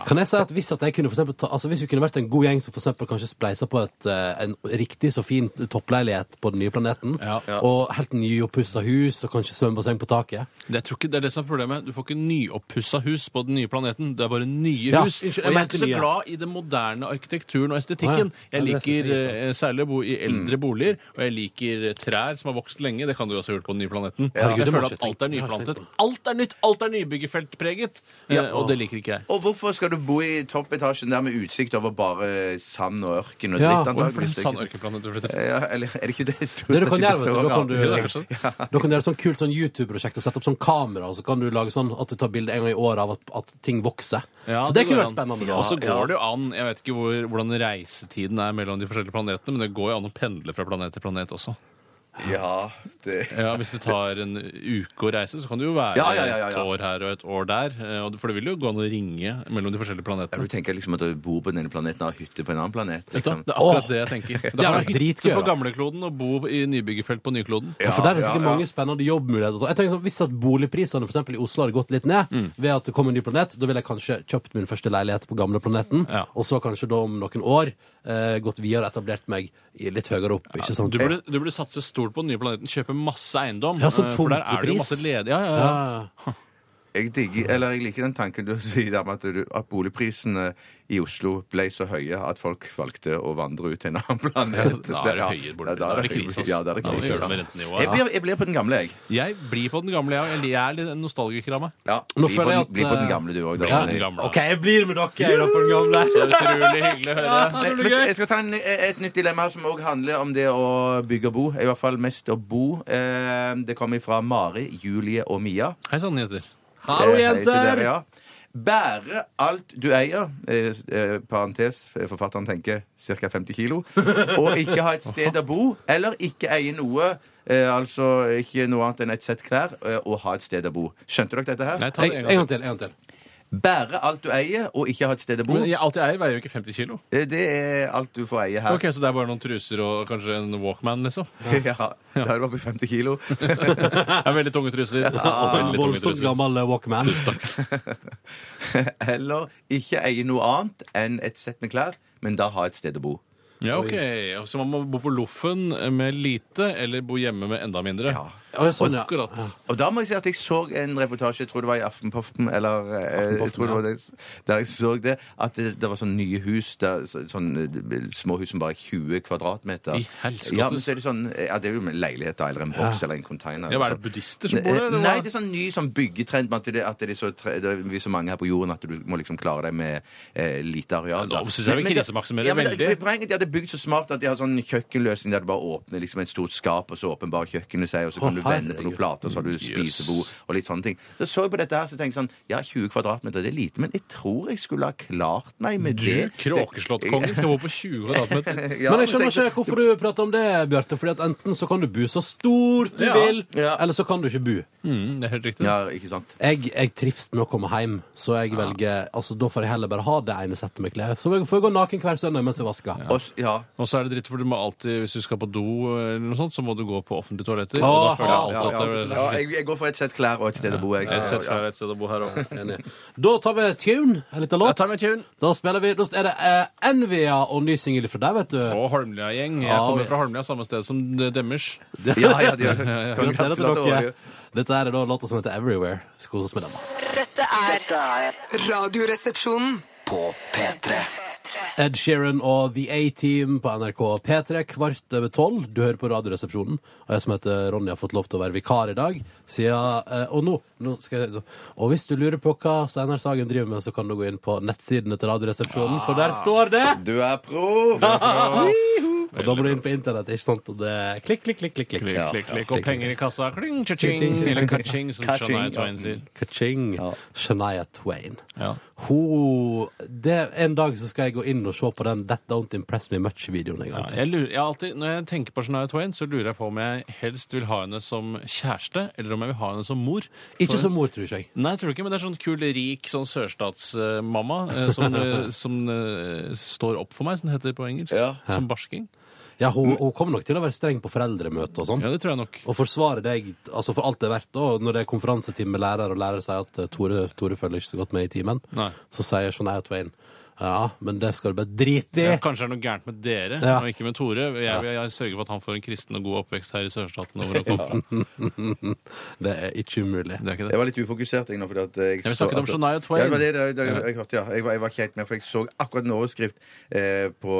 Kan jeg si at hvis, at jeg kunne for eksempel ta, altså hvis vi kunne vært en god gjeng som for eksempel kanskje spleisa på et, eh, en riktig så fin toppleilighet på den nye planeten,
Ja. Ja.
og helt nyoppussa hus og kanskje svømmebasseng på taket
Det, jeg tror ikke, det er det som er problemet. Du får ikke nyoppussa hus på den nye planeten. Det er bare nye
Ja,
hus.
unnskyld, jeg
og jeg er
mente
ikke så
nye.
glad i den moderne arkitekturen og
Å, ja.
estetikken.
Ja,
Jeg
det er det som
liker
sier stas. Mm.
eh, særlig å bo i eldre boliger, og jeg liker trær som har vokst lenge. Det kan du også gjøre på den nye planeten.
Herregud, det
jeg
må
føler
jeg
at
ikke
alt er
tenke- det har jeg ikke
nyplantet. Alt er nytt! Alt er nybyggefeltpreget! Eh, og det liker ikke jeg.
Og hvorfor skal du skal du bo i toppetasjen der med utsikt over bare sand og ørken og dritt,
Ja, og
Hvorfor er det
antakeligvis.
en sandørkenplanet du flytter til?
Ja, eller er det ikke det stort
Det du
sett
kan gjøre,
det
vet du,
står
da kan du,
av?
Ja, det er kanskje det.
da kan du gjøre sånn kult sånn YouTube-prosjekt og sette opp sånn kamera, og så kan du lage sånn at du tar bilde en gang i året av at, at ting vokser.
Ja,
så det, kunne
går
vært
an.
spennende.
Og så går
ja.
det jo an, jeg vet ikke hvor, hvordan reisetiden er mellom de forskjellige planetene, men det går jo an å pendle fra planet til planet også.
Ja, det...
Ja, Hvis det tar en uke å reise, så kan det jo være
Ja, ja, ja, ja, ja.
et år her og et år der. eh, og- For det vil jo gå an å ringe mellom de forskjellige
Ja, du
planetene.
tenker liksom at du bor på den ene planeten og har hytte på en annen planet.
Vet du hva?
Liksom.
Det er akkurat
Åh,
det jeg tenker.
det
Da
er
har
jo
du hytte
dritgøy,
på
da.
gamlekloden og bo i nybyggerfelt på nykloden.
Ja, for der er det
ja,
sikkert
ja.
mange spennende jobbmuligheter. Jeg tenker sånn, Hvis at boligprisene for eksempel, i Oslo hadde gått litt ned
Mm.
ved at det kom en ny planet, da ville jeg kanskje kjøpt min første leilighet på gamle planeten,
Ja.
og så kanskje da om noen år eh, gått videre og etablert meg i litt høyere opp. ikke sant?
Du burde, du burde satse stort på den nye planeten, kjøpe masse eiendom.
Ja, sånn
eh, for der er det jo
tomtepris.
masse ledig. Ja, ja, ja.
Ja.
Jeg, digger,
Mm.
eller jeg liker den tanken du sier der med at, du, at boligprisene i Oslo ble så høye at folk valgte å vandre ut til en annen planet.
Da er det
Ja,
høyere bolig.
da er det høyere-
krise. ass.
Ja, da er det
Da må vi
krise.
gjøre noe med
ja.
rentenivået.
Jeg blir, jeg blir på den gamle, jeg.
Jeg blir på den gamle, jeg. Eller jeg er litt en nostalgiker av meg.
Ja,
Nå
bli, på
føler jeg
den,
at,
bli på den
eh,
gamle, du òg.
bli på den gamle.
OK, jeg blir med dere jeg, da, på den gamle.
Så utrolig hyggelig å høre.
Men, men jeg skal ta en, ny- et nytt dilemma som òg handler om det å bygge og bo. I hvert fall mest å bo. Eh, Det kommer fra Mari, Julie og Mia.
Hei sann, jenter.
Hallo,
Eh, hei til
jenter!
dere, ja. Bære alt du eier, eh, eh, parentes, forfatteren tenker ca. 50 kilo, og ikke ha et sted å bo, eller ikke eie noe, eh, altså ikke noe annet enn et sett klær, eh, og ha et sted å bo. Skjønte dere dette
Nei,
her?
ta
En
det en
en
gang
gang
til.
til. en gang til.
Bære alt du eier, og ikke ha et sted å bo.
Men jeg, alt jeg eier, veier jo ikke 50 kilo.
Eh, Det er alt du får eie her.
Ok, Så det er bare noen truser og kanskje en Walkman, liksom?
Ja, da er du oppe i 50 kilo.
Det er veldig tunge truser.
Og
Veldig
en
tunge
voldsomt
truser.
gammel eh, Walkman.
Eller ikke eie noe annet enn et sett med klær, men da ha et sted å bo.
Ja, ok. Så man må bo på loffen med lite, eller bo hjemme med enda mindre.
Ja.
Å, ja, sånn, ja.
Akkurat.
Og da må jeg si at jeg så en reportasje, jeg tror det var i Aftenpoften, eller eh, jeg tror det var det, der jeg så det, at det, det var sånne nye hus, der, så- sånn eh, små hus som bare er 20 kvadratmeter.
I helskottes.
Ja, men så er det sånn, eh, ja, det er jo en leilighet da, eller en boks, eller en container.
Ja, hva
eller
er
sånn.
det buddhister som bor der? eller
Nei,
hva?
det er sånn ny sånn byggetrend med at det, at det, er så tre, det er så mange her på jorden at du må liksom klare deg med eh, lite areal.
Ja, da synes jeg vi
Men- men det-
krisemaksimerer
ja, men det-
veldig.
Poenget er at de har bygd så smart at de har sånn kjøkkenløsning der du bare åpner liksom et stort skap, og så åpenbarer kjøkkenet seg, og så kan du
Å,
vende på
herregud.
noen plater, og så har du spisebord og litt sånne ting. Så så jeg på dette her, så tenkte jeg sånn Ja, 20 kvadratmeter, det er lite, men jeg tror jeg skulle ha klart meg med
Du,
det.
Kråkeslåttkongen, skal bo på 20 kvadratmeter.
Ja,
Men jeg skjønner
tenkte-
ikke hvorfor du prater om det, Bjarte. Fordi at enten så kan du bo så stort du
Ja.
vil,
Ja.
eller så kan du ikke bo.
Mm, det er helt riktig.
Ja, ikke sant.
Jeg, jeg trives med å komme hjem, så jeg velger Altså, da får jeg heller bare ha det ene settet med klær. Så jeg får jeg gå naken hver søndag mens jeg vasker.
Og s- ja.
Og så er det dritt, for du må alltid, hvis du skal på do, eh, eller noe sånt, så må du gå på offentlige toaletter.
Åh,
og da føler jeg
Ja,
alltid
ja,
at det
ja, jeg, jeg går for et sett klær og et sted å bo. Jeg.
Et sett her, et sted å bo her også.
Enig. Da tar vi Tune, en liten
Jeg
låt.
tar med tune.
Da spiller vi Da er det eh, Envia og ny singel fra deg, vet du.
Og Holmlia-gjeng. Jeg
Ja,
kommer
vet.
fra Holmlia, samme sted som Demmers.
Ja, ja, de gjør det.
Gratulerer til
Gratulerer.
dere. Dette er da låta som heter Everywhere. Skal kose oss med den. da.
Dette er
Dette er
Radioresepsjonen.
på P3.
Ed Sheeran og The A-Team på NRK P3 kvart over tolv. Du hører på Radioresepsjonen. Og jeg som heter Ronny har fått lov til å være vikar i dag. Siden, eh, og nå, nå skal jeg, og hvis du lurer på hva Steinar Sagen driver med, så kan du gå inn på nettsidene til Radioresepsjonen, for der står det!
Du er proff!
Og da må du inn på internett, ikke sant? Og det er klikk, klikk, klikk, klikk.
Klikk,
Ja.
klikk, klikk, og penger i kassa. Kling, cha-ching,
Cha-ching.
eller ka-ching, som
Ka-ching,
Shania
ja.
Twain sier.
Ka-ching. Shania Twain.
Ja.
Hun det, En dag så skal jeg gå inn og se på den That Don't Impress Me Much-videoen en
Ja,
gang til.
jeg lurer, jeg har alltid, når jeg tenker på Shania Twain, så lurer jeg på om jeg helst vil ha henne som kjæreste, eller om jeg vil ha henne som mor.
Ikke som mor, tror jeg.
Nei, jeg tror ikke, men det er sånn kul, rik sånn sørstatsmamma eh, som, eh, som eh, står opp for meg, som det heter på engelsk.
Ja.
Som barsking.
Ja, hun, hun kommer nok til å være streng på foreldremøte og sånn.
Ja, det tror jeg nok.
Og forsvare deg altså for alt det er verdt. da, når det er konferansetime med lærer, og lærer sier at eh, Tore, Tore følger ikke så godt med i timen,
Nei.
så sier Shania Twain eh, Ja, men det skal du bare drite i.
Ja, kanskje det er noe gærent med dere,
Ja.
og ikke med Tore. Jeg, jeg, jeg sørger for at han får en kristen og god oppvekst her i sørstaten. Over ja.
Det er ikke umulig.
Det er ikke
Jeg
det.
var litt ufokusert jeg nå, fordi at eh, jeg altså-
Ja, vi snakket om Shania Twain.
Ja, det var det, det, det, jeg, jeg, hørte, ja. jeg, var, jeg var ikke helt med, for jeg så akkurat en overskrift eh, på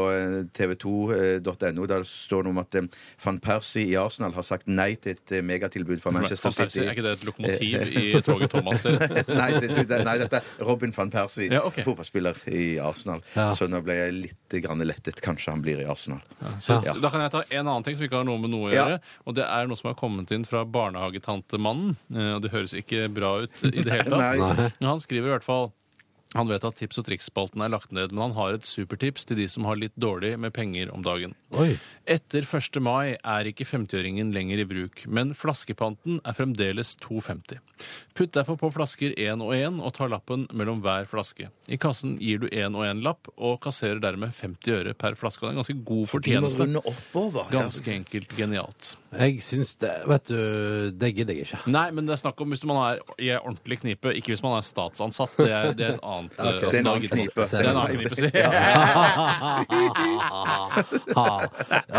tv2.no. Der står det om at eh, van Persie i Arsenal har sagt nei til et eh, megatilbud fra Manchester
Van Persie,
City.
er ikke det et lokomotiv i toget Thomas ser?
nei, det, det, nei, dette er Robin van Persie,
Ja, ok.
fotballspiller i Arsenal.
Ja.
Så nå ble jeg litt grann lettet. Kanskje han blir i Arsenal.
Så,
Ja.
Da kan jeg ta en annen ting som ikke har noe med noe å
Ja.
gjøre. Og det er noe som har kommet inn fra barnehagetantemannen. eh, Og det høres ikke bra ut i det hele tatt.
Nei.
Men han skriver i hvert fall han vet at tips og triks-spalten er lagt ned, men han har et supertips til de som har litt dårlig med penger om dagen.
Oi.
Etter 1. mai er ikke 50-øringen lenger i bruk, men flaskepanten er fremdeles 2,50. Putt derfor på flasker én og én, og ta lappen mellom hver flaske. I kassen gir du én og én lapp, og kasserer dermed 50 øre per flaske. Og Det er en ganske god
De må
fortjeneste.
runde oppover. ja.
Ganske enkelt genialt.
Jeg syns det Vet du, det gidder jeg ikke.
Nei, men det er snakk om hvis man er i en ordentlig knipe, ikke hvis man er statsansatt. Det er, det er et annet eh, altså,
Det er en annen
da gidder-
knipe.
Det er en annen knipe, sier jeg.
ja,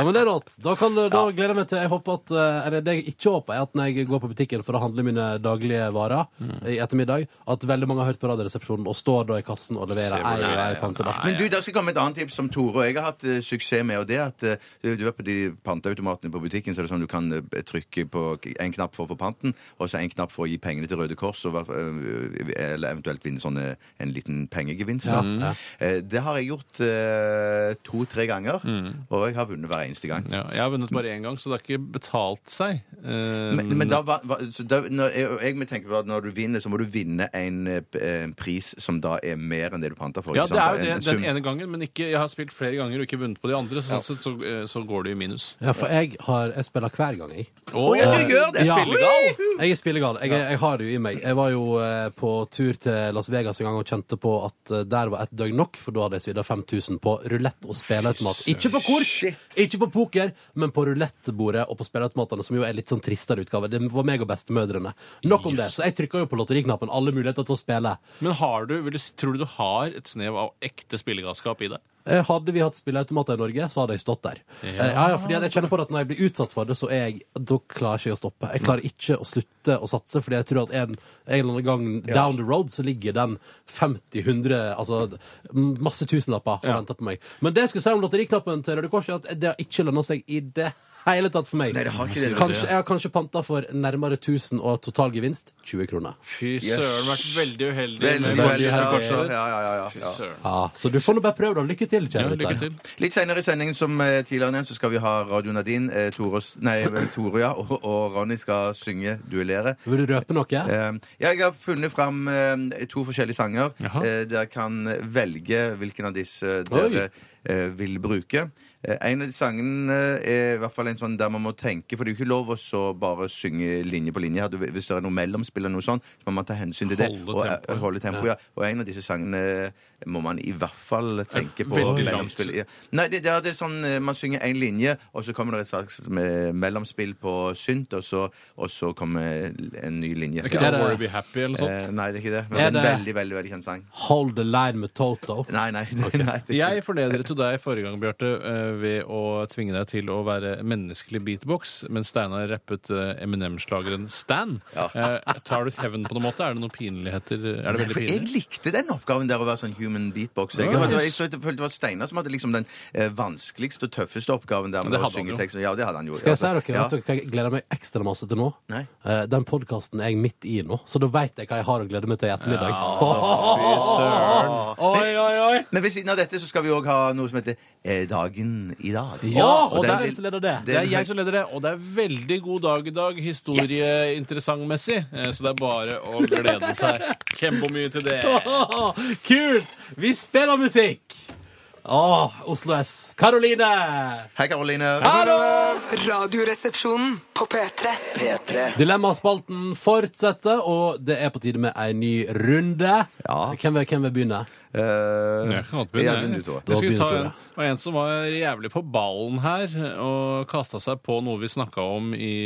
men det er rått. Da, kan, da gleder jeg meg til Jeg håper at eh, Eller det jeg ikke håper, er at når jeg går på butikken for å handle mine daglige varer i ettermiddag, at veldig mange har hørt på Radioresepsjonen og står da i kassen og leverer ei og ei pante. da.
Men du, der skal jeg komme med et annet tips som Tore og jeg har hatt eh, suksess med. og det er at eh, Du er på de panteautomatene på butikken, så er det sånn du kan eh, trykke på en knapp for å få panten, og så en knapp for å gi pengene til Røde Kors, og, hva- eh, eller eventuelt vinne sånn eh, en liten pengegevinst. da. Eh, Det har jeg gjort eh, to-tre ganger,
Mm.
og jeg har vunnet hver eneste gang.
Ja, jeg har vunnet bare én gang, så det har ikke betalt seg. Eh,
Men, men da, var- var- så da når, jeg, jeg tenker på at når du vinner, så må du vinne en, eh, p- en pris som da er mer enn det du panta for.
Ja,
ikke
det
sant?
er jo
En-
det
en sum.
den ene gangen, men ikke, jeg har spilt flere ganger og ikke vunnet på de andre, så sånn sett så, eh, så går det i minus.
Ja, for jeg, har, jeg spiller hver gang, jeg.
Oh,
ja, du gjør det,
Spillegal!
Jeg er spillegal. Jeg, jeg har det jo i meg. Jeg var jo eh, på tur til Las Vegas en gang og kjente på at eh, der var ett døgn nok, for da hadde jeg svidd av 5000 på rulett og spilleautomat. Ikke på kort, ikke på poker, men på rulettbordet og på spilleautomatene, som jo er litt sånn tristere utgave. Det var meg og bestemødrene. Nok om det. Så jeg trykka jo på lotteriknappen. Alle muligheter til å spille.
Men har du, vil du, tror du du har et snev av ekte spillegalskap i deg?
Eh, Hadde vi hatt spilleautomater i Norge, så hadde jeg stått der. Eh, Ja, ja, fordi at jeg kjenner på det at Når jeg blir utsatt for det, så er jeg, da klarer ikke jeg å stoppe. Jeg klarer ikke å slutte å satse, fordi jeg tror at en, en eller annen gang down the road så ligger den 50-100 Altså m- masse tusenlapper og
Ja.
venter på meg. Men det jeg skulle si om lotteriknappen til Røde Kors, er at det har ikke lønna seg i det hele tatt for meg.
Nei, det har ikke det.
Kanskje, jeg har kanskje panta for nærmere 1000 og totalgevinst 20 kroner.
Fy søren, vært veldig uheldig
Veldig,
med
Veldig
veldig,
her,
ja,
korset.
ja, ja, ja,
Fy
ja.
søren.
Ja, så du får nå bare prøve, da. Lykke til,
Ja,
kjære
lykke til.
Litt senere i sendingen som eh, tidligere nevnt, så skal vi ha Radio Nadine, eh, Tore, nei, eh, Tore ja, og, og Ronny skal synge duellere.
Vil du røpe noe?
Eh, jeg har funnet fram eh, to forskjellige sanger.
Jaha.
Eh, dere kan velge hvilken av disse dere eh, vil bruke. Eh, en av de sangene er i hvert fall en sånn der man må tenke, for det er jo ikke lov å så bare synge linje på linje. her. Du- Hvis det er noe mellomspill eller noe sånt, så må man ta hensyn til det.
Holde
og, eh,
tempoet.
holde tempo, ja. og en av disse sangene må man i hvert fall tenke på.
veldig
mellomspill. Ja. Nei, det, det er- det er sånn eh, man synger én linje, og så kommer det et slags eh, mellomspill på synt, og så, og så kommer en ny linje.
Er ikke
Ja.
det
det-
Worry Be Happy eller noe sånt?
Eh, nei, det er ikke det. Men det
Er
er en
det-
veldig, veldig veldig kjent sang.
Hold the line med Toto.
Nei, nei. Det, nei det, er ikke-
Jeg fornedret jo deg forrige gang, Bjarte, eh, ved å tvinge deg til å være menneskelig beatbox, mens Steinar rappet eh, Eminem-slageren Stan. Eh, Tar du hevn på noen måte? Er det noen pinligheter? Er det
Nei,
veldig
for jeg
pinlig?
likte den oppgaven der å være sånn human beatbox. Jeg,
Ja.
jeg, jeg, så- jeg følte det var Steinar som hadde liksom den eh, vanskeligste og tøffeste oppgaven der med
det
å
hadde han
synge
jo.
teksten. Ja, det hadde han jo.
Skal jeg si dere,
Ja.
vet dere hva jeg gleder meg ekstra masse til nå?
Nei.
Eh, Den podkasten er jeg midt i nå, så da veit jeg hva jeg har å glede meg til i ettermiddag.
Fy søren. Oi, oi, oi!
Men ved siden av dette så skal vi òg ha noe som heter eh, Dagen i dag.
Ja, og
den-
der er jeg som leder det.
Det er jeg som leder det, og det er veldig god dag i dag, historieinteressantmessig. Eh, Så det er bare å glede seg kjempemye til det.
Kult! Vi spiller musikk! Åh, Oslo S. Karoline!
Hei, Karoline.
Hallo!
Radioresepsjonen på P3.
P3
Dilemmaspalten fortsetter, og det er på tide med ei ny runde.
Ja.
Hvem vil, hvem vil begynne?
Eh,
Jeg kan godt begynne.
ja, begynn du, Tore.
Da
Jeg skulle
begynner
ta en,
Tore.
det var en som var jævlig på ballen her, og kasta seg på noe vi snakka om i,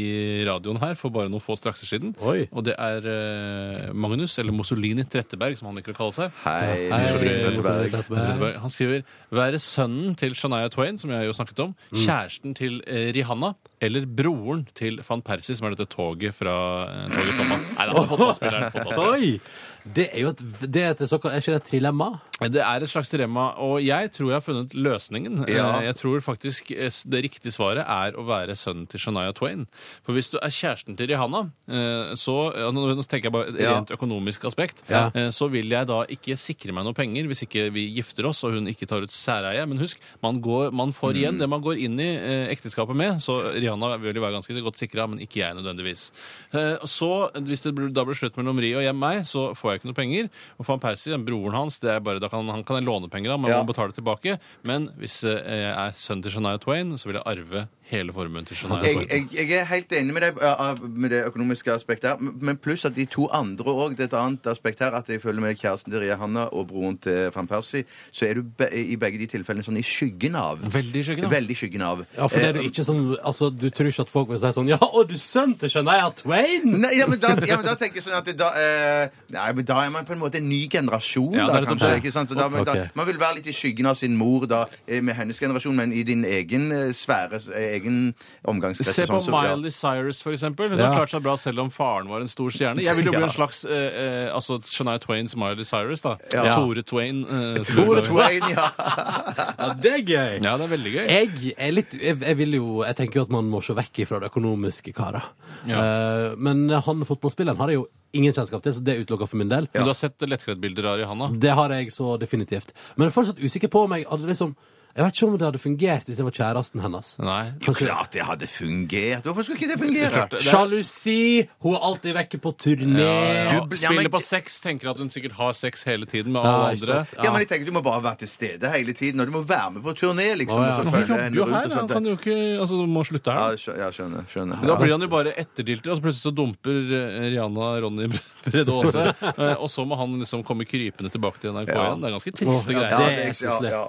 i radioen her for bare noen få strakser siden.
Oi.
Og det er eh, Magnus, eller Mussolini Tretteberg, som han liker å kalle seg.
Hei, Tore
Hei,
Tretteberg.
Tore Tretteberg.
Tretteberg. Han skriver 'Være sønnen til Shania Twain', som jeg jo snakket om, kjæresten til eh, Rihanna, eller broren til van Persie, som er dette toget fra eh, toget Tomma. Nei, han har fått fotballspilleren. fotballspilleren.
Oi! Det er jo et det er et såkalt Er ikke det et trilemma?
Det er et slags dilemma, og jeg tror jeg har funnet løsningen.
Ja.
Eh, Jeg tror faktisk eh, s- det riktige svaret er å være sønnen til Shania Twain. For hvis du er kjæresten til Rihanna, eh, så ja, Nå nå tenker jeg bare et
Ja.
rent økonomisk aspekt.
Ja.
eh, Så vil jeg da ikke sikre meg noe penger hvis ikke vi gifter oss og hun ikke tar ut særeie. Men husk, man, går, man får
Mm.
igjen det man går inn i eh, ekteskapet med. Så Rihanna vil jo være ganske godt sikra, men ikke jeg nødvendigvis. Eh, Så hvis det blir- da blir slutt mellom Ri og hjem meg, så får jeg ikke noe penger. Og van Persie, den broren hans, det er bare, da kan, han kan jeg låne penger av, men
Ja.
må betale tilbake. Men hvis eh, jeg er sønn til Shania Twain, så vil jeg arve hele formuen til Shania
Jeg,
Twain.
jeg, jeg er helt enig med deg ja, med det økonomiske aspektet her, men- men pluss at de to andre òg. Det er et annet aspekt her, at jeg føler med kjæresten til Rihanna og broren til Van Persie, så er du be, i begge de tilfellene sånn i skyggen av.
Veldig skyggen av.
Veldig skyggen av. Eh,
Ja, for det er du
Eh,
ikke sånn Altså, du tror ikke at folk vil si sånn Ja, og du sønn til Shania Twain!
Nei, ja, men da, ja, men da tenker jeg sånn at det da, eh, nei, men da er man på en måte en ny generasjon,
Ja,
da,
det er nettopp
kanskje.
det.
Ikke sant? Så da, men, da,
Ok.
man vil være litt i skyggen av sin mor da, eh, med hennes generasjon, men i din egen eh, sfære, eh, egen omgangskrets.
Se
og
på
sånn, så- ja.
Miley Cyrus, for eksempel. Hun
Ja.
har klart seg bra selv om faren var en stor stjerne. Jeg vil jo bli
Ja.
en slags eh, eh, altså Shania Twains Miley Cyrus, da.
Ja.
Tore Twain. eh, som
Tore
jeg kaller
Twain, ja.
Ja, det er gøy!
det. Ja, det er veldig gøy.
Eh,
Jeg er litt jeg, jeg vil jo Jeg tenker jo at man må se vekk ifra det økonomiske karet. Eh, men han fotballspilleren har jeg jo ingen kjennskap til, så det er utelukka for min del.
Men du har sett lettkleddbilder av Rihanna?
Mm.
Det har jeg så definitivt. Men jeg er fortsatt usikker på om jeg hadde liksom Jeg vet ikke om det hadde fungert hvis jeg var kjæresten hennes.
Nei.
Kanskje
Klart det hadde fungert. Hvorfor skulle ikke det
Det er
fungere?
klart, det er-
Sjalusi! Hun er alltid vekke på turné.
Ja,
Du- ja,
Eh, Spiller
men-
på sex, tenker at hun sikkert har sex hele tiden
Ja,
med alle
ikke
andre.
sant?
Ja, men jeg tenker Du må bare være til stede hele tiden, og du må være med på turné. liksom.
Å, ja.
og så
Men
Han
følge
jobber
henne
jo
rundt og
her, han
sånt.
kan jo ikke altså, du må slutte
Ja,
her.
skjø- ja, skjønner. skjønner.
Da blir han jo bare etterdilter, og så plutselig så dumper eh, Rihanna Ronny Brede Aase. eh, Og så må han liksom komme krypende tilbake til NRK igjen. Det er ganske triste
Ja, det
greier.
er
altså, ja,
stusslig.
ja.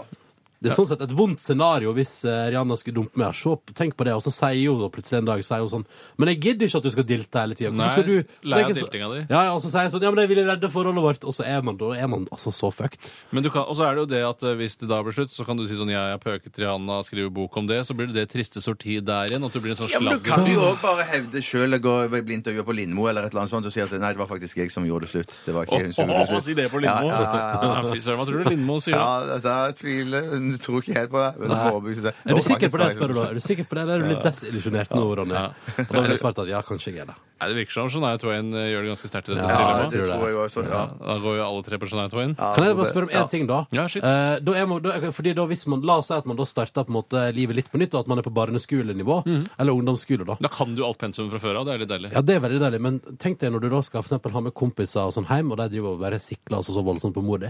Det er sånn sett et vondt scenario hvis eh, Rihanna skulle dumpe meg. Se, på- tenk på det, Og så sier hun da plutselig en dag sier hun sånn Men jeg gidder ikke at du skal dilte hele tida.
Nei, lei av diltinga di.
Ja, ja, og så sier jeg sånn Ja, men jeg ville redde forholdet vårt. Og så er man da er man altså så fucked.
Men du kan, og så er det jo det at eh, hvis det da blir slutt, så kan du si sånn ja, jeg pøket Rihanna, skriver bok om det, så blir det det triste sorti der igjen. At du blir en sånn
Ja, men Du kan
sladder.
jo òg bare hevde sjøl og bli intervjua på Lindmo eller et eller annet sånt og si at nei, det var faktisk jeg som gjorde det slutt. Det var ikke hun som gjorde
Åh,
det
si
slutt.
det på Lindmo!
Ja, ja, ja, ja.
Ja, fy søren, hva tror du Lindmo sier?
Ja,
da?
dette er tviler Hun tror ikke helt på det. Men
Nei.
må overbevise seg.
Er du sikker på det, spør du da? Er du sikker på det, Eller er du litt desillusjonert nå, Ronny?
Ja.
Og da ville jeg svart at ja, kanskje jeg er det.
Nei, det virker som Shania Twain eh, gjør det ganske sterkt i dette
Ja,
Ja,
dilemmaet.
det tror jeg også. Ja.
Da går jo alle tre på Shania Twain.
Ja,
Kan jeg bare spørre om én
ja.
ting, da?
Ja, shit.
Eh, da er man, da, fordi da hvis man, La oss si at man da starter på en måte livet litt på nytt, og at man er på barneskolenivå.
Mhm.
Eller ungdomsskole, da.
Da kan du alt pensum fra før av. Det er litt deilig.
Ja, det er veldig deilig, men tenk deg når du da skal for eksempel, ha med kompiser og sånn hjem, og de driver og bare sikler altså, så voldsomt på mor di.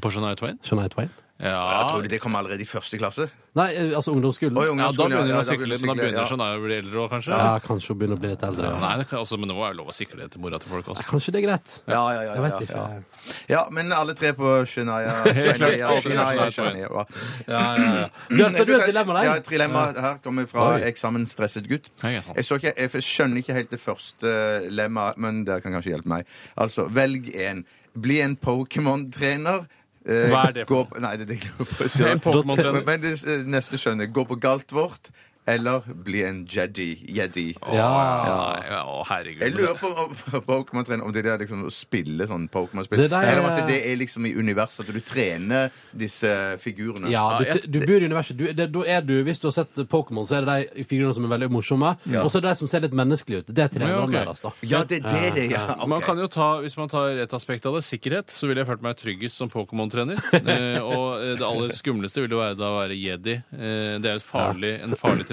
På Shania Twain?
Skjønner jeg Twain?
Ja,
Ja,
tror du det kom allerede i første klasse?
Nei, eh, altså ungdomsskolen.
Oi,
ja da
ungdomsskolen,
begynner hun å
da
sikle litt. men Da
sikle,
begynner
ja.
Shania å bli eldre òg, kanskje.
Ja, kanskje hun begynner å bli litt eldre.
Nei, det kan, altså, men det må være lov å sikle til mora til folk
Nei,
også.
Kanskje det er greit.
Ja, ja, ja,
Jeg
ja,
vet ikke.
ja. Ja, men alle tre på Shania.
klart.
Shania,
Alle tre
Shania,
Shania.
Shania. ja.
Ja, ja, ja. Bjarte, du er et dilemma
Ja,
der.
et dilemma her kommer fra
Oi.
eksamensstresset gutt.
Hei, sant.
Jeg, så ikke, jeg skjønner ikke helt det første lemmaet, men dere kan kanskje hjelpe meg. Altså, velg en. Bli en Pokémon-trener. Eh,
Hva er det for
gå på- Nei, det er det jeg lurer på
En
selv.
Pokémon-trener.
Men- Men det eh, neste skjønner jeg. Gå på Galtvort, eller bli en Jedi. Jedi.
Ja, ja, å, herregud.
Jeg lurer på om Pokémon-trener Om det er liksom å spille sånn Pokémon-spill.
Det der er-
Eller om at det er liksom i universet at du trener disse figurene.
Ja,
Ja,
du,
jeg-
du bor i universet. Du, det, da er du, hvis du har sett Pokémon, så er det de figurene som er veldig morsomme, og så er det de som ser litt menneskelige ut. Det er trenerne
Ja, ok.
deres, da.
Ja, det er det det ja. ok.
Man kan jo ta, Hvis man tar et aspekt av det, sikkerhet, så ville jeg følt meg tryggest som Pokémon-trener. Eh, og eh, det aller skumleste ville jo være da å være jedi. Eh, det er jo et farlig, en farlig tilværelse.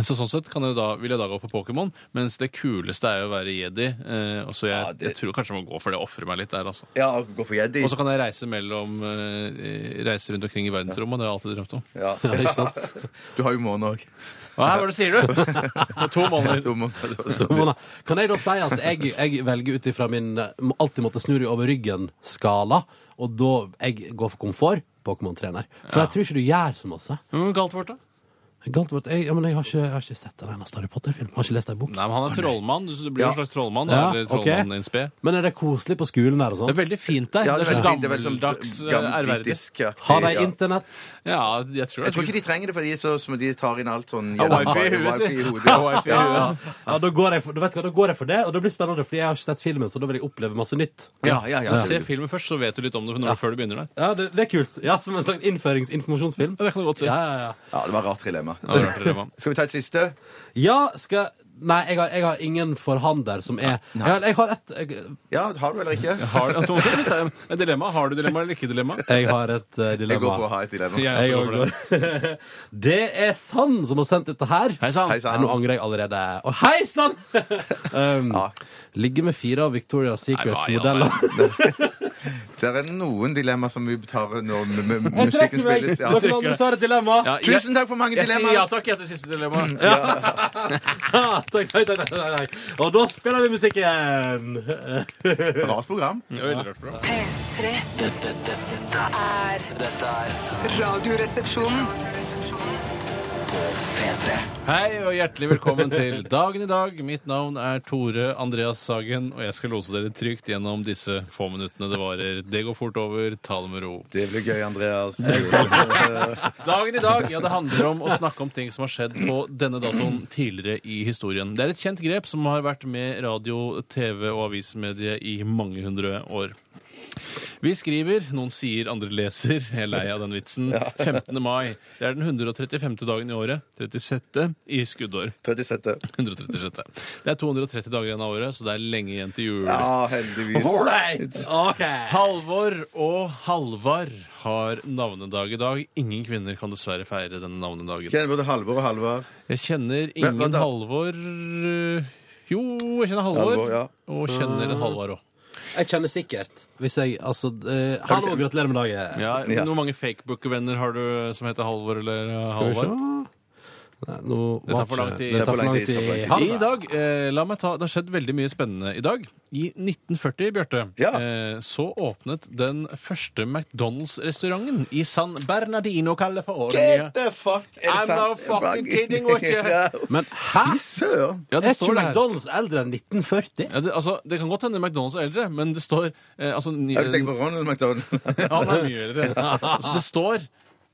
Så sånn sett kan jeg da, vil jeg da gå for Pokémon, mens det kuleste er jo å være jedi. Eh, og så jeg,
Ja, det-
jeg tror kanskje jeg må gå for det og ofre meg litt der, altså.
Ja, gå for Jedi.
Og så kan jeg reise mellom eh, reise rundt omkring i verdensrommet, og det har jeg alltid drømt om.
Ja.
Ikke sant?
Du har jo måne òg.
Hva er det du sier du? På to måneder.
Mona, Kan jeg da si at jeg, jeg velger ut ifra min eh, må alltid måtte snu deg over ryggen-skala, og da jeg går for komfort, Pokémon-trener. For jeg tror ikke du gjør så masse.
Hva er galt vårt, da?
Galt vårt, jeg, ja, men jeg, har ikke, jeg har ikke sett en eneste Harry Potter-film. Har ikke lest ei bok.
Nei, men Han er trollmann. Du blir jo en slags trollmann.
Ja,
eller
ok.
trollmann in spe.
Men er det koselig på skolen der og
Det er
sånn?
veldig fint der.
Ja,
det er så
veldig fint, veldig sånn
gammeldags, eh,
gammel
ærverdig.
britisk-aktig,
Har de
ja.
internett?
Ja, jeg tror det.
Jeg tror ikke de trenger det, for de, er så, som de tar inn alt sånn
Ja, wifi i huet,
wifi
si.
i hodet.
Ja, wifi i
Ja,
huet.
ja.
Ja, da går, jeg for, da vet du hva, da går jeg for det, og det blir spennende, fordi jeg har ikke sett filmen, så da vil jeg oppleve masse nytt.
Ja, ja, ja.
Se filmen først, så vet du litt om det når, før du begynner der.
Ja, det, det er kult. Ja, Som en slags innførings-informasjonsfilm.
Ja, det kan du godt si.
Ja, ja, ja.
ja, det var et rart dilemma.
Ja, det er rart dilemma.
Skal vi ta et siste?
ja, skal Nei, jeg har, jeg har ingen for han der som er Ja, Jeg har et Jeg,
Ja, har du eller ikke?
Har, du- Tom, hvis det er et dilemma, har du dilemma eller ikke dilemma?
jeg har et eh,
Jeg går for å
dilemma.
ha et dilemma.
Jeg
Jeg
også går for det.
også går. Det er Sann som har sendt dette her.
Hei sann.
Hei
Nei,
sann.
nå angrer jeg allerede. Å, hei sann! um,
Ja.
Ligge med fire av Victoria's
Nei, hva i all
Secrets-modeller.
Det er noen dilemma som vi tar når m- m-
Jeg
musikken
trekker meg!
spilles. Ja.
Noen andre så har et dilemma.
Ja, jeg-
Tusen takk for Mm. mange
Jeg sier ja
dilemmaer.
takk jeg, til siste dilemma.
Ah, takk, takk, takk, takk, takk. Og da spiller vi musikken!
Rart program.
P3
Dette, dette, dette,
er
dette er
Radioresepsjonen.
P3.
Hei og hjertelig velkommen til Dagen i dag. Mitt navn er Tore Andreas Sagen, og jeg skal lose dere trygt gjennom disse få minuttene det varer. Det går fort over. Ta det med ro.
Det blir gøy, Andreas.
Dagen i dag ja, det handler om å snakke om ting som har skjedd på denne datoen tidligere i historien. Det er et kjent grep som har vært med radio, TV og avismediet i mange hundre år. Vi skriver, noen sier, andre leser, jeg er lei av den vitsen, 15. mai. Det er den 135. dagen i året, 36. i skuddår.
37.
136. Det er 230 dager igjen av året, så det er lenge igjen til jul.
Ja, Ah, heldigvis.
Halvor og Halvar har navnedag i dag. Ingen kvinner kan dessverre feire denne navnedagen.
Kjenner både Halvor og Halvard.
Jeg kjenner
Men,
ingen
vent da.
Halvor øh, Jo, jeg kjenner Halvor.
Halvor, ja.
Og kjenner en Halvar òg.
Jeg kjenner sikkert Hvis jeg, altså eh, Hallo, gratulerer med dagen.
Ja,
Ja.
Hvor mange fakebooker-venner har du som heter Halvor eller øh,
Skal vi se
Halvar?
Nei, nå
Det tar for lang
var ikke-
tid.
Det tar for lang tid.
Det
Ha det.
I dag, eh, la meg ta, Det har skjedd veldig mye spennende i dag. I 1940, Bjarte,
Ja.
eh, så åpnet den første McDonald's-restauranten i San Bernardino, California.
the fuck! Er det
I'm
sant?
not fucking kidding with you.
Ja.
Men hæ?!
Søren.
Er
Ja, det
ikke
står det her.
McDonald's eldre enn 1940?
Ja, det, altså, det kan godt hende McDonald's er eldre, men det står eh, altså, ny,
Jeg tenker på Ronald McDonald.
Ja, han er mye eldre. Altså, det står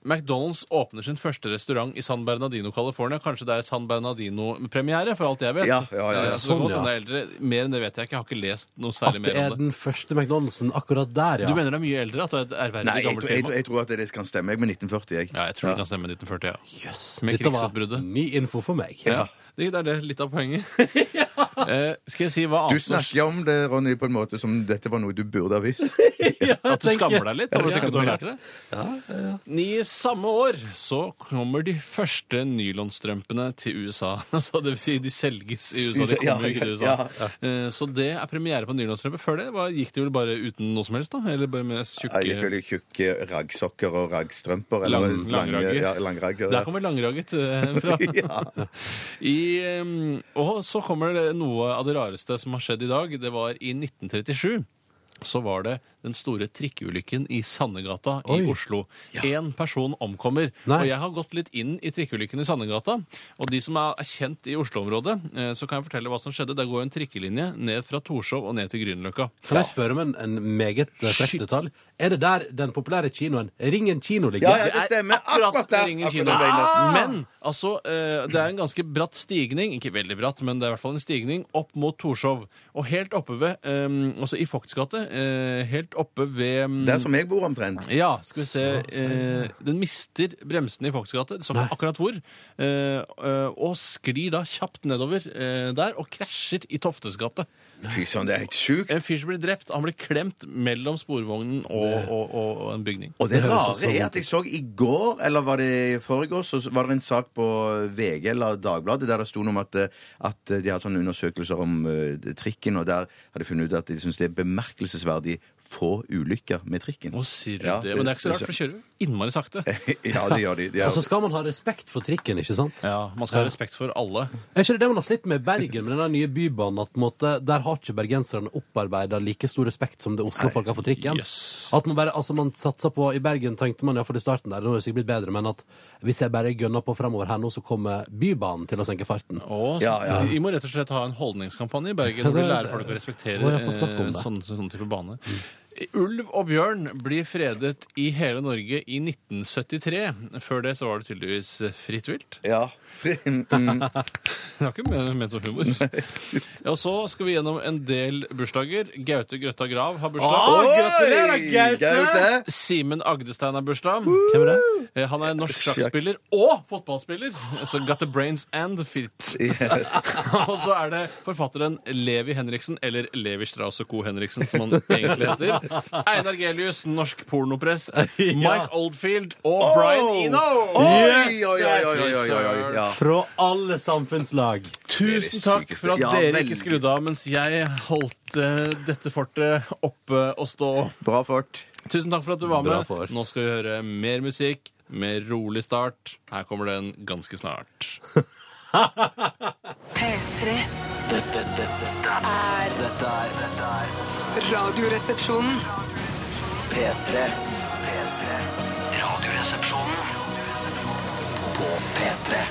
McDonald's åpner sin første restaurant i San Bernardino, California. Kanskje det er San Bernardino-premiere, for alt jeg vet.
Ja, ja, ja, ja.
Eh, Så det kan
Sånn,
godt
ja.
hende det er eldre. Mer enn det vet jeg ikke. Jeg har ikke lest noe
At
særlig
det
mer
er
om det.
den første McDonald'sen akkurat der, ja.
Du mener det er mye eldre? At det er et ærverdig
Nei, jeg,
gammelt
tror- jeg, tror-
firma?
jeg tror at det kan stemme. Jeg er med 1940, jeg.
Ja, jeg tror det kan stemme 1940, ja.
Jøss,
Med
dette var
krigsutbruddet.
ny info for meg.
ja. Det det er det litt av poenget. eh, skal jeg si hva
Du
annet som-
snakker om det, Ronny, på en måte som dette var noe du burde ha visst.
At du
tenker-
skammer deg litt? Over at
Ja,
ikke du har lært det? I samme år så kommer de første nylonstrømpene til USA. Så det vil si, de selges i USA. De
Ja,
kommer jo ikke til USA.
ja,
Eh, Så det er premiere på nylonstrømper. Før det var, gikk det vel bare uten noe som helst, da? Eller bare med
Jeg liker
tjukke
veldig tjukke raggsokker og raggstrømper.
Lang-
eller lange-
langragger.
Ja, langragger.
Der kommer langragget eh, fra.
ja.
I, ehm, og så kommer det noe av det rareste som har skjedd i dag. Det var i 1937. Så var det den store trikkeulykken i Sandegata i
Oi.
Oslo. Én person omkommer.
Nei.
Og jeg har gått litt inn i trikkeulykken i Sandegata. Og de som er er kjent i Oslo-området, eh, så kan jeg fortelle hva som skjedde. Der går en trikkelinje ned fra Torshov og ned til Grünerløkka.
Kan jeg spørre om en, en meget eh, frekk
Shit.
detalj? Er det der den populære kinoen Ringen kino ligger?
Ja, ja, det stemmer.
akkurat
Akkurat
ved
der.
Ringen
akkurat
kino.
der Ah! ble jeg nødt.
Men altså, eh, det er en ganske bratt stigning, ikke veldig bratt, men det er i hvert fall en stigning opp mot Torshov. Og helt oppe ved, eh, altså i Fokts gate, eh, helt oppe ved mm,
Der som jeg bor omtrent.
ja, skal vi se.
Så, så, ja.
Eh, den mister bremsene i Folkesgate, det står ikke akkurat hvor, eh, eh, og sklir da kjapt nedover eh, der og krasjer i Toftes gate.
Fy søren, det er helt sjukt.
En fyr som blir drept, han blir klemt mellom sporvognen og, og, og, og en bygning.
Og det
Det høres
rare
sånn
er
ut.
at jeg så i går, eller var det i forgårs, så var det en sak på VG eller Dagbladet der det sto noe om at, eh, at de hadde sånne undersøkelser om eh, trikken, og der hadde de funnet ut at de syns det er bemerkelsesverdig få ulykker med trikken.
Å, sier du
Ja,
det? Men det er ikke så rart, for de kjører jo innmari sakte.
Ja, det gjør de. de
Og så
gjør.
Altså, skal man ha respekt for trikken, ikke sant?
Ja, Man skal ha respekt for alle.
Er ikke det det man har slitt med i Bergen, med den nye bybanen? At på en måte, der har ikke bergenserne opparbeida like stor respekt som det Oslo-folk har for trikken.
Jøss.
At man bare, altså man satser på, I Bergen tenkte man iallfall i starten der, nå er det sikkert blitt bedre, men at hvis jeg bare gønner på framover her nå, så kommer Bybanen til å senke farten.
Og så-
Ja, ja.
Vi må rett og slett ha en holdningskampanje i
Ja,
Bergen hvor vi
det-
lærer folk å respektere
Å, jeg får snakke om
eh,
det. Mm.
sånne, sånne type bane. Ulv og bjørn blir fredet i hele Norge i 1973. Før det så var det tydeligvis fritt vilt.
Ja. Mm.
Det var ikke men- ment som humor. Og så skal vi gjennom en del bursdager. Gaute Grøtta Grav har bursdag.
Å, gratulerer,
Oi,
Gaute!
Gaute!
Simen Agdestein har bursdag.
Hvem er det?
Eh, Han er norsk sjakkspiller og fotballspiller. Så got the brains and the feet.
Yes.
Og så er det forfatteren Levi Henriksen, eller Levi Strauss og Co. Henriksen, som han egentlig heter. Einar Gelius, norsk pornoprest. Mike Oldfield og Brian Eno.
Oh! Oi, oi, oi, oi, oi, oi, oi. Ja.
Fra alle samfunnslag.
Tusen takk for at
Ja,
dere
veldig.
ikke skrudde av mens jeg holdt eh, dette fortet oppe og stå.
Bra fort.
Tusen takk for at du var
Bra
med.
fort.
Nå skal vi høre mer musikk, mer rolig start. Her kommer den ganske snart.
P3
Dette, dette,
er
dette er
radioresepsjonen.
P3. P3. Radioresepsjonen på P3.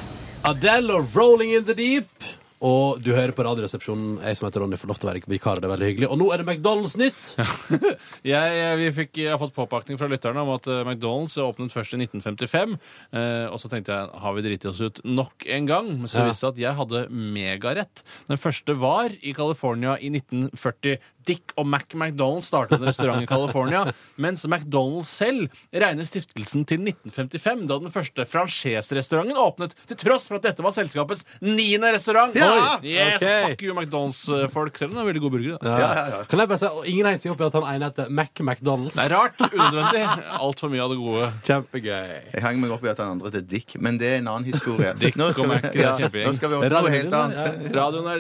Adele og 'Rolling in the Deep'. Og du hører på Radioresepsjonen. Jeg som heter Ronny, får lov til å være vikar. Det er veldig hyggelig. Og nå er det McDonald's-nytt.
Jeg, jeg, vi fikk, jeg har fått påpakning fra lytterne om at eh, McDonald's åpnet først i 1955. Eh, og så tenkte jeg har vi driti oss ut nok en gang? Men så
Ja.
viste det seg at jeg hadde megarett. Den første var i California i 1940. Dick og Mac McDonald's startet en restaurant i California. Mens McDonald's selv regner stiftelsen til 1955, da den første franchise-restauranten åpnet. Til tross for at dette var selskapets niende restaurant!
Ja!
Oi, Yes,
Ok.
Fuck you, McDonald's-folk. Selv om det er veldig gode burgere. da.
Kan jeg bare si, og Ingen henger seg opp i at han ene heter Mac McDonald's.
Det er rart. Unødvendig. Altfor mye av det gode.
Kjempegøy.
Jeg hang meg opp i at han andre heter Dick, men det er en annen historie.
Dick
nå, skal
og
vi,
Mac, det er
ja,
kjempegjeng.
nå skal vi opp på noe helt annet.
Radioen er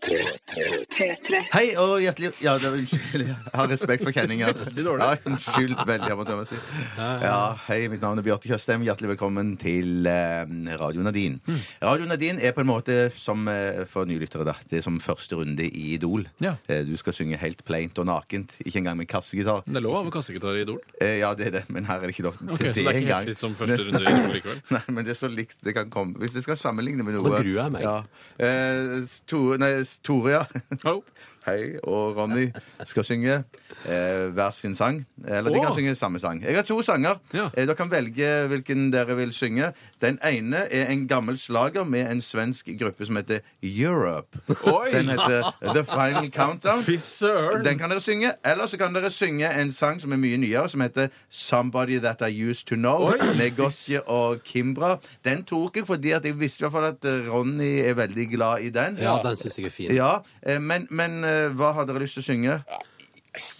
din.
P3.
Hei og hjertelig Ja, det var unnskyld. Jeg har respekt for kjenninger.
Veldig dårlig.
Ja, unnskyld. Veldig, jeg måtte øve meg å si. Ja, hei, mitt navn er Bjarte Tjøstheim. Hjertelig velkommen til eh, Radio Nadine.
Mm.
Radio Nadine er på en måte som eh, for nylyttere, da. Det er som første runde i Idol.
Ja.
Eh, du skal synge helt plaint og nakent. Ikke engang med kassegitar.
Det er lov å ha med kassegitar i Idol.
Eh, ja, det er det, men her er det ikke lov til
Ok, så det
det
er ikke
engang.
helt fritt som første runde i Idol likevel.
Nei, men det er så likt det kan komme. Hvis jeg skal sammenligne med noe
Nå gruer jeg meg.
Ja. Eh, Tore, nei, Tore, ja.
Hallo.
Hei og Ronny skal synge eh, hver sin sang. Eller de
Åh.
kan synge samme sang. Jeg har to sanger.
Ja.
Eh, dere kan velge hvilken dere vil synge. Den ene er en gammel slager med en svensk gruppe som heter Europe.
Oi.
Den heter The Final Countdown.
Fy søren!
Den kan dere synge. Eller så kan dere synge en sang som er mye nyere, som heter Somebody That I Used To Know, med Gotje og Kimbra. Den tok jeg fordi at jeg visste i hvert fall at eh, Ronny er veldig glad i den.
Ja, den syns jeg er fin.
Ja, eh, men, men eh, hva har dere lyst til å synge?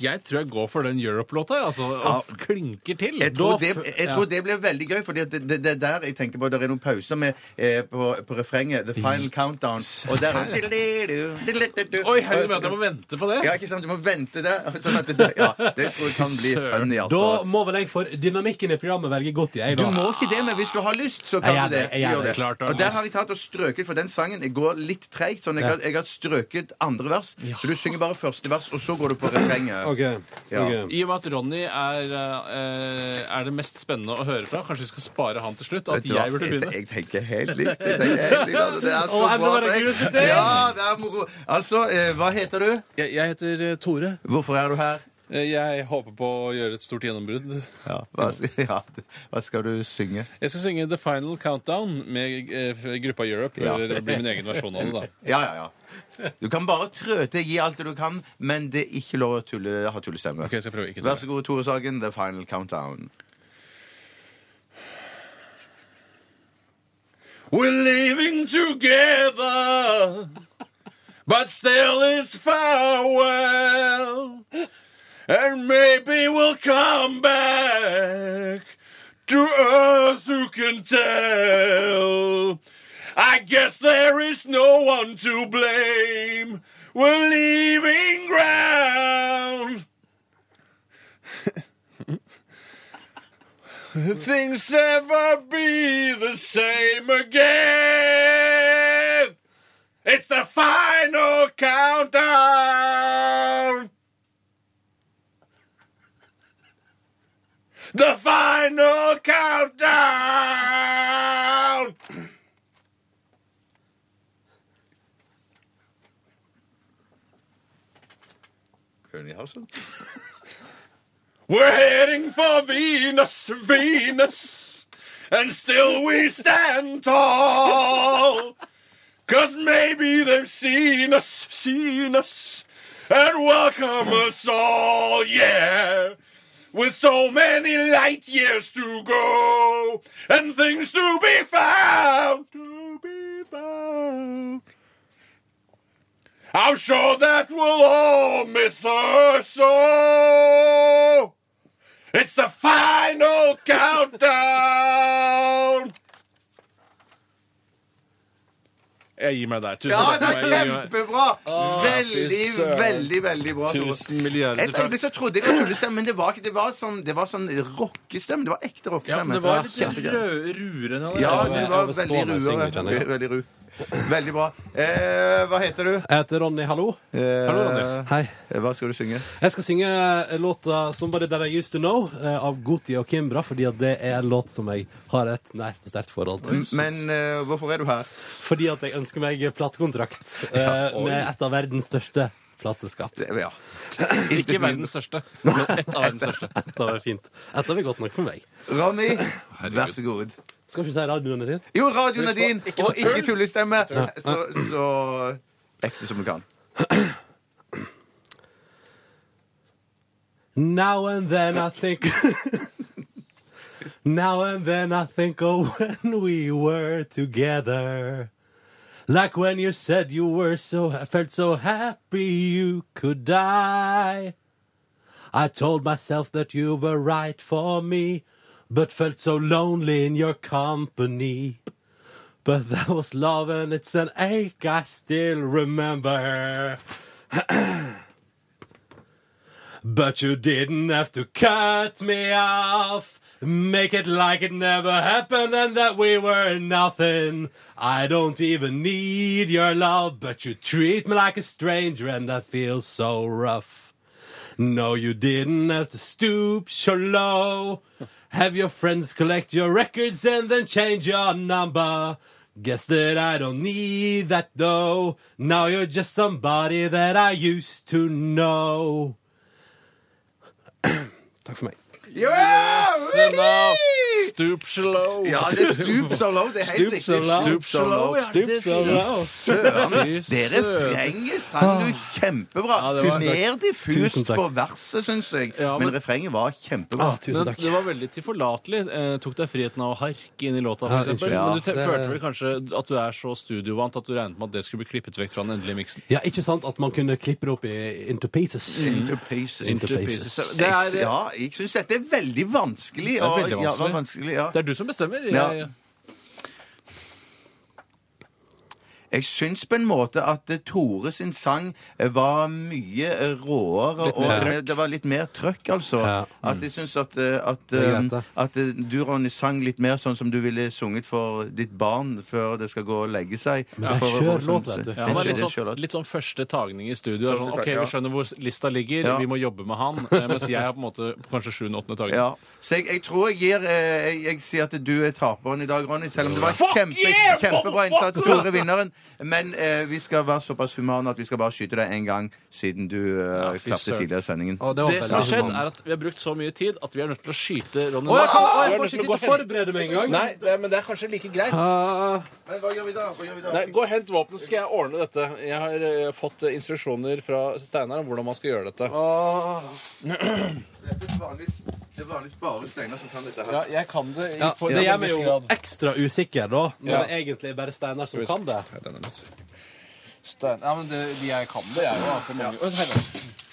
Jeg tror jeg går for den Europe-låta. jeg, Altså, og klinker til.
Jeg tror,
Da
det,
f-
jeg
eh, ja.
tror det blir veldig gøy, for det det er der jeg tenker på det er noen pauser med, eh, på, på refrenget. The Final Countdown. Og der er
Oi, herregud, men jeg må vente på det.
Ja, ikke sant? Du må vente der. Sånn at det, ja, det tror jeg kan bli funny,
Da
altså.
må vel jeg for dynamikken i programmet velge godt, jeg,
Du må
da.
ikke det, men hvis du har lyst, så kan
Jeg er
du det.
det, jeg er
Du gjør
det.
Klart du har
og der
lyst.
har jeg tatt og strøket, for den sangen går litt treigt. Sånn jeg, har- jeg har strøket andre vers, så du synger bare første vers, og så går du på refrenget.
OK.
Ja.
ok.
I og med at Ronny er, eh, er det mest spennende å høre fra, kanskje vi skal spare han til slutt? At
Vet du hva?
jeg burde
jeg,
begynne?
jeg tenker helt likt. Jeg tenker helt likt. Altså, det er så
Å, jeg
bra.
ble bare gruset til.
Ja, det er moro. Altså, eh, hva heter du?
Jeg, heter Tore.
Hvorfor er du her?
Eh, Jeg håper på å gjøre et stort gjennombrudd.
Ja, hva, ja, hva skal du synge?
Jeg skal synge The Final Countdown med eh, gruppa Europe.
Ja.
Eller det blir min egen versjon av det, da.
Ja, ja, ja. Du kan bare trøte, gi alt det du kan, men det er ikke lov å tulle, ha tullestemme.
Ok, jeg skal prøve ikke
Vær så god, Tore Sagen, The Final Countdown.
We're living together, but still it's farewell. And maybe we'll come back to us who can tell. I guess there is no one to blame. We're leaving ground. Things ever be the same again. It's the final countdown. The final countdown.
Høne i halsen?
We're heading for Venus, Venus, and still we stand tall. Cause maybe they've seen us, seen us, and welcome us all, yeah. With so many light years to go, and things to be found, to be found. I'm sure that we'll all miss her so. It's the final countdown! Jeg gir meg der. Tusen
Ja, det er
takk. for meg. Jeg gir meg.
kjempebra! Veldig,
fy søren.
veldig, veldig bra. Tore.
Tusen
Et
milliarder takk.
øyeblikk så trodde jeg det var tullestemme, men det var ikke det. var sånn, det var sånn rockestemme. Det var ekte rockestemme. Kjempegøy.
rurende av
Ja, du
Jeg
var
vil stå
veldig
når jeg
ruere.
synger, kjenner jeg.
Veldig ru. Veldig bra. Eh, hva heter du?
Jeg heter Ronny, hallo.
Eh,
Hallo, Ronny.
Hei.
Hva skal du synge?
Jeg skal synge eh, låta 'Somebody That I Used To Know' eh, av Goti og Kimbra, fordi at det er en låt som jeg har et nært og sterkt forhold til.
Men eh, hvorfor er du her?
Fordi at jeg ønsker meg platekontrakt eh, med et av verdens største plateselskap.
Det, ja.
Ikke verdens største, men ett av verdens største.
Dette var fint. Dette var godt nok for meg.
Ronny, vær så god.
Skal ikke si radioen din?
Jo, radioen er din, og ikke tullestemme. Så, så ekte som du kan.
Now and then I think Now and then I think of when we were together Like when you said you were so felt so happy you could die I told myself that you were right for me but felt so lonely in your company But that was love and it's an ache I still remember But you didn't have to cut me off. Make it like it never happened and that we were nothing. I don't even need your love, but you treat me like a stranger and that feels so rough. No, you didn't have to stoop so low. Have your friends collect your records and then change your number. Guess that I don't need that though. Now you're just somebody that I used to know. Takk for meg.
Stoop slow.
Ja, det er stup so low. Det er helt riktig. Stup so low. ja.
Stoop slow.
Søren. Det refrenget sang du kjempebra.
Ja, det var-
Mer
Tusen
diffust
takk.
på verset, syns jeg.
Ja, men-
Men refrenget var kjempebra.
Ah, tusen takk.
det var veldig tilforlatelig. Eh, tok deg friheten av å harke inn i låta,
Ja,
for eksempel.
unnskyld.
Men du te
Ja, det-
følte vel kanskje at du er så studiovant at du regnet med at det skulle bli klippet vekk fra den endelige miksen.
Ja, ikke sant at man kunne klippe det opp i into pieces?
Mm.
Into pieces.
Into pieces.
pieces. Det er,
ja, jeg syns dette er veldig vanskelig.
er
og-
veldig
Ja, det
vanskelig.
er vanskelig ja.
det er du som bestemmer. Jeg,
Ja. Jeg syns på en måte at eh, Tore sin sang eh, var mye eh, råere.
Ah, Litt
og
mer
eh, Det var litt mer trøkk, altså.
Ja.
At jeg syns at, eh, at,
er
eh,
greit, det.
at eh, du, Ronny, sang litt mer sånn som du ville sunget for ditt barn før det skal gå og legge seg.
Men det er
For å-
skjør låt, vet du.
Ja, han var
Det er skjør-
litt
det er
sånn,
skjør låt.
litt sånn første tagning i studio. er Sånn,
Første
OK,
tag- ja.
vi skjønner hvor lista ligger,
Ja.
vi må jobbe med han. Eh, Mens jeg har på en måte kanskje sjuende-åttende tagning.
Ja. Så jeg, jeg tror jeg gir eh, jeg, jeg sier at du er taperen i dag, Ronny. Selv om det var kjempe, kjempebra innsats. Tore er vinneren. Men eh, vi skal være såpass humane at vi skal bare skyte deg en gang, siden du eh,
fy
klappet
søren.
tidligere i sendingen.
Å, det var
Det som har
veldig
skjedd,
humant.
er at vi har brukt så mye tid at vi er nødt til å skyte Ronny.
Å, jeg, kan, å,
Vi
jeg
er
får
nødt
ikke
til å
tid
gå
til å forberede meg engang.
Nei, det, men det er kanskje like greit.
Ah,
Men hva gjør vi da? Hva gjør vi da?
Nei, Gå og hent våpen, så skal jeg ordne dette. Jeg har eh, fått eh, instruksjoner fra Steinar om hvordan man skal gjøre dette.
ah.
Det er vanligvis, det er vanligvis bare Steinar som kan dette her.
Ja, jeg kan det. i-
ja,
på en
det gjør meg
viss
jo
grad.
ekstra usikker, da, når
Ja.
det egentlig er bare Steinar som kan det.
Ja, den er nødt. Stein... Ja, men det, de jeg kan det, jeg jo. For mange... Å, herre.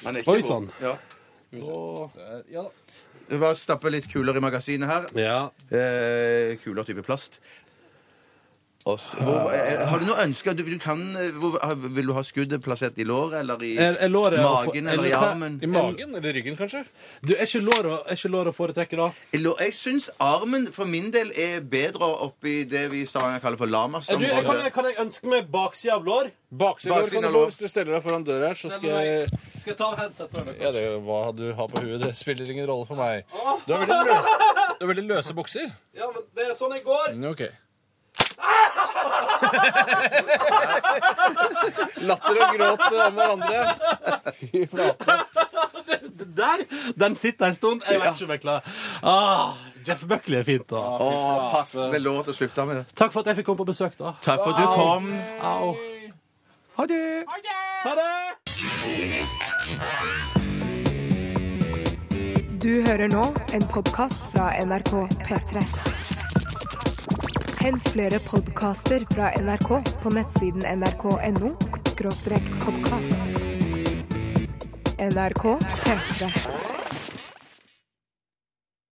Han er ikke
Oi, sånn.
god.
sann.
Ja.
Der, Ja.
Vi Bare stappe litt kuler i magasinet her.
Ja.
Eh, kuler type plast. Og så- Hvor, eh, har du noe ønske? Du, du kan, eh, hvor, har- vil du ha skuddet plassert i låret eller i
Er, er låret å få-
magen
er-
eller i
hva-
armen?
I magen eller ryggen, kanskje?
Du, er ikke låret å- er ikke låret å foretrekke, da?
I lå- Jeg syns armen for min del er bedre oppi det vi i Stavanger kaller for
Er du, jeg kan,
lamas-området.
jeg, kan jeg ønske meg baksida av lår?
Baksiden av
Baksiden
lår kan
av
du få
lår.
hvis du steller deg foran døra her, så skal jeg
Skal jeg ta av headsetet?
Ja, det, hva du har på huet, det spiller ingen rolle for meg. Du har veldig løse, du har veldig løse bukser.
Ja, men det er sånn jeg går.
Mm, Ok. Latter og gråt om hverandre. Fy flate.
Det der, den sitter en stund. Jeg vet ikke om jeg klarer ah, Jeff Buckley er fint, da.
Å, passende låt å slutte med.
Takk for at jeg fikk komme på besøk, da.
Takk for at du kom.
Au.
Ha det.
Ha det!
Du hører nå en podkast fra NRK P3. Hent flere podkaster fra NRK på nettsiden nrk.no podkast. NRK P3.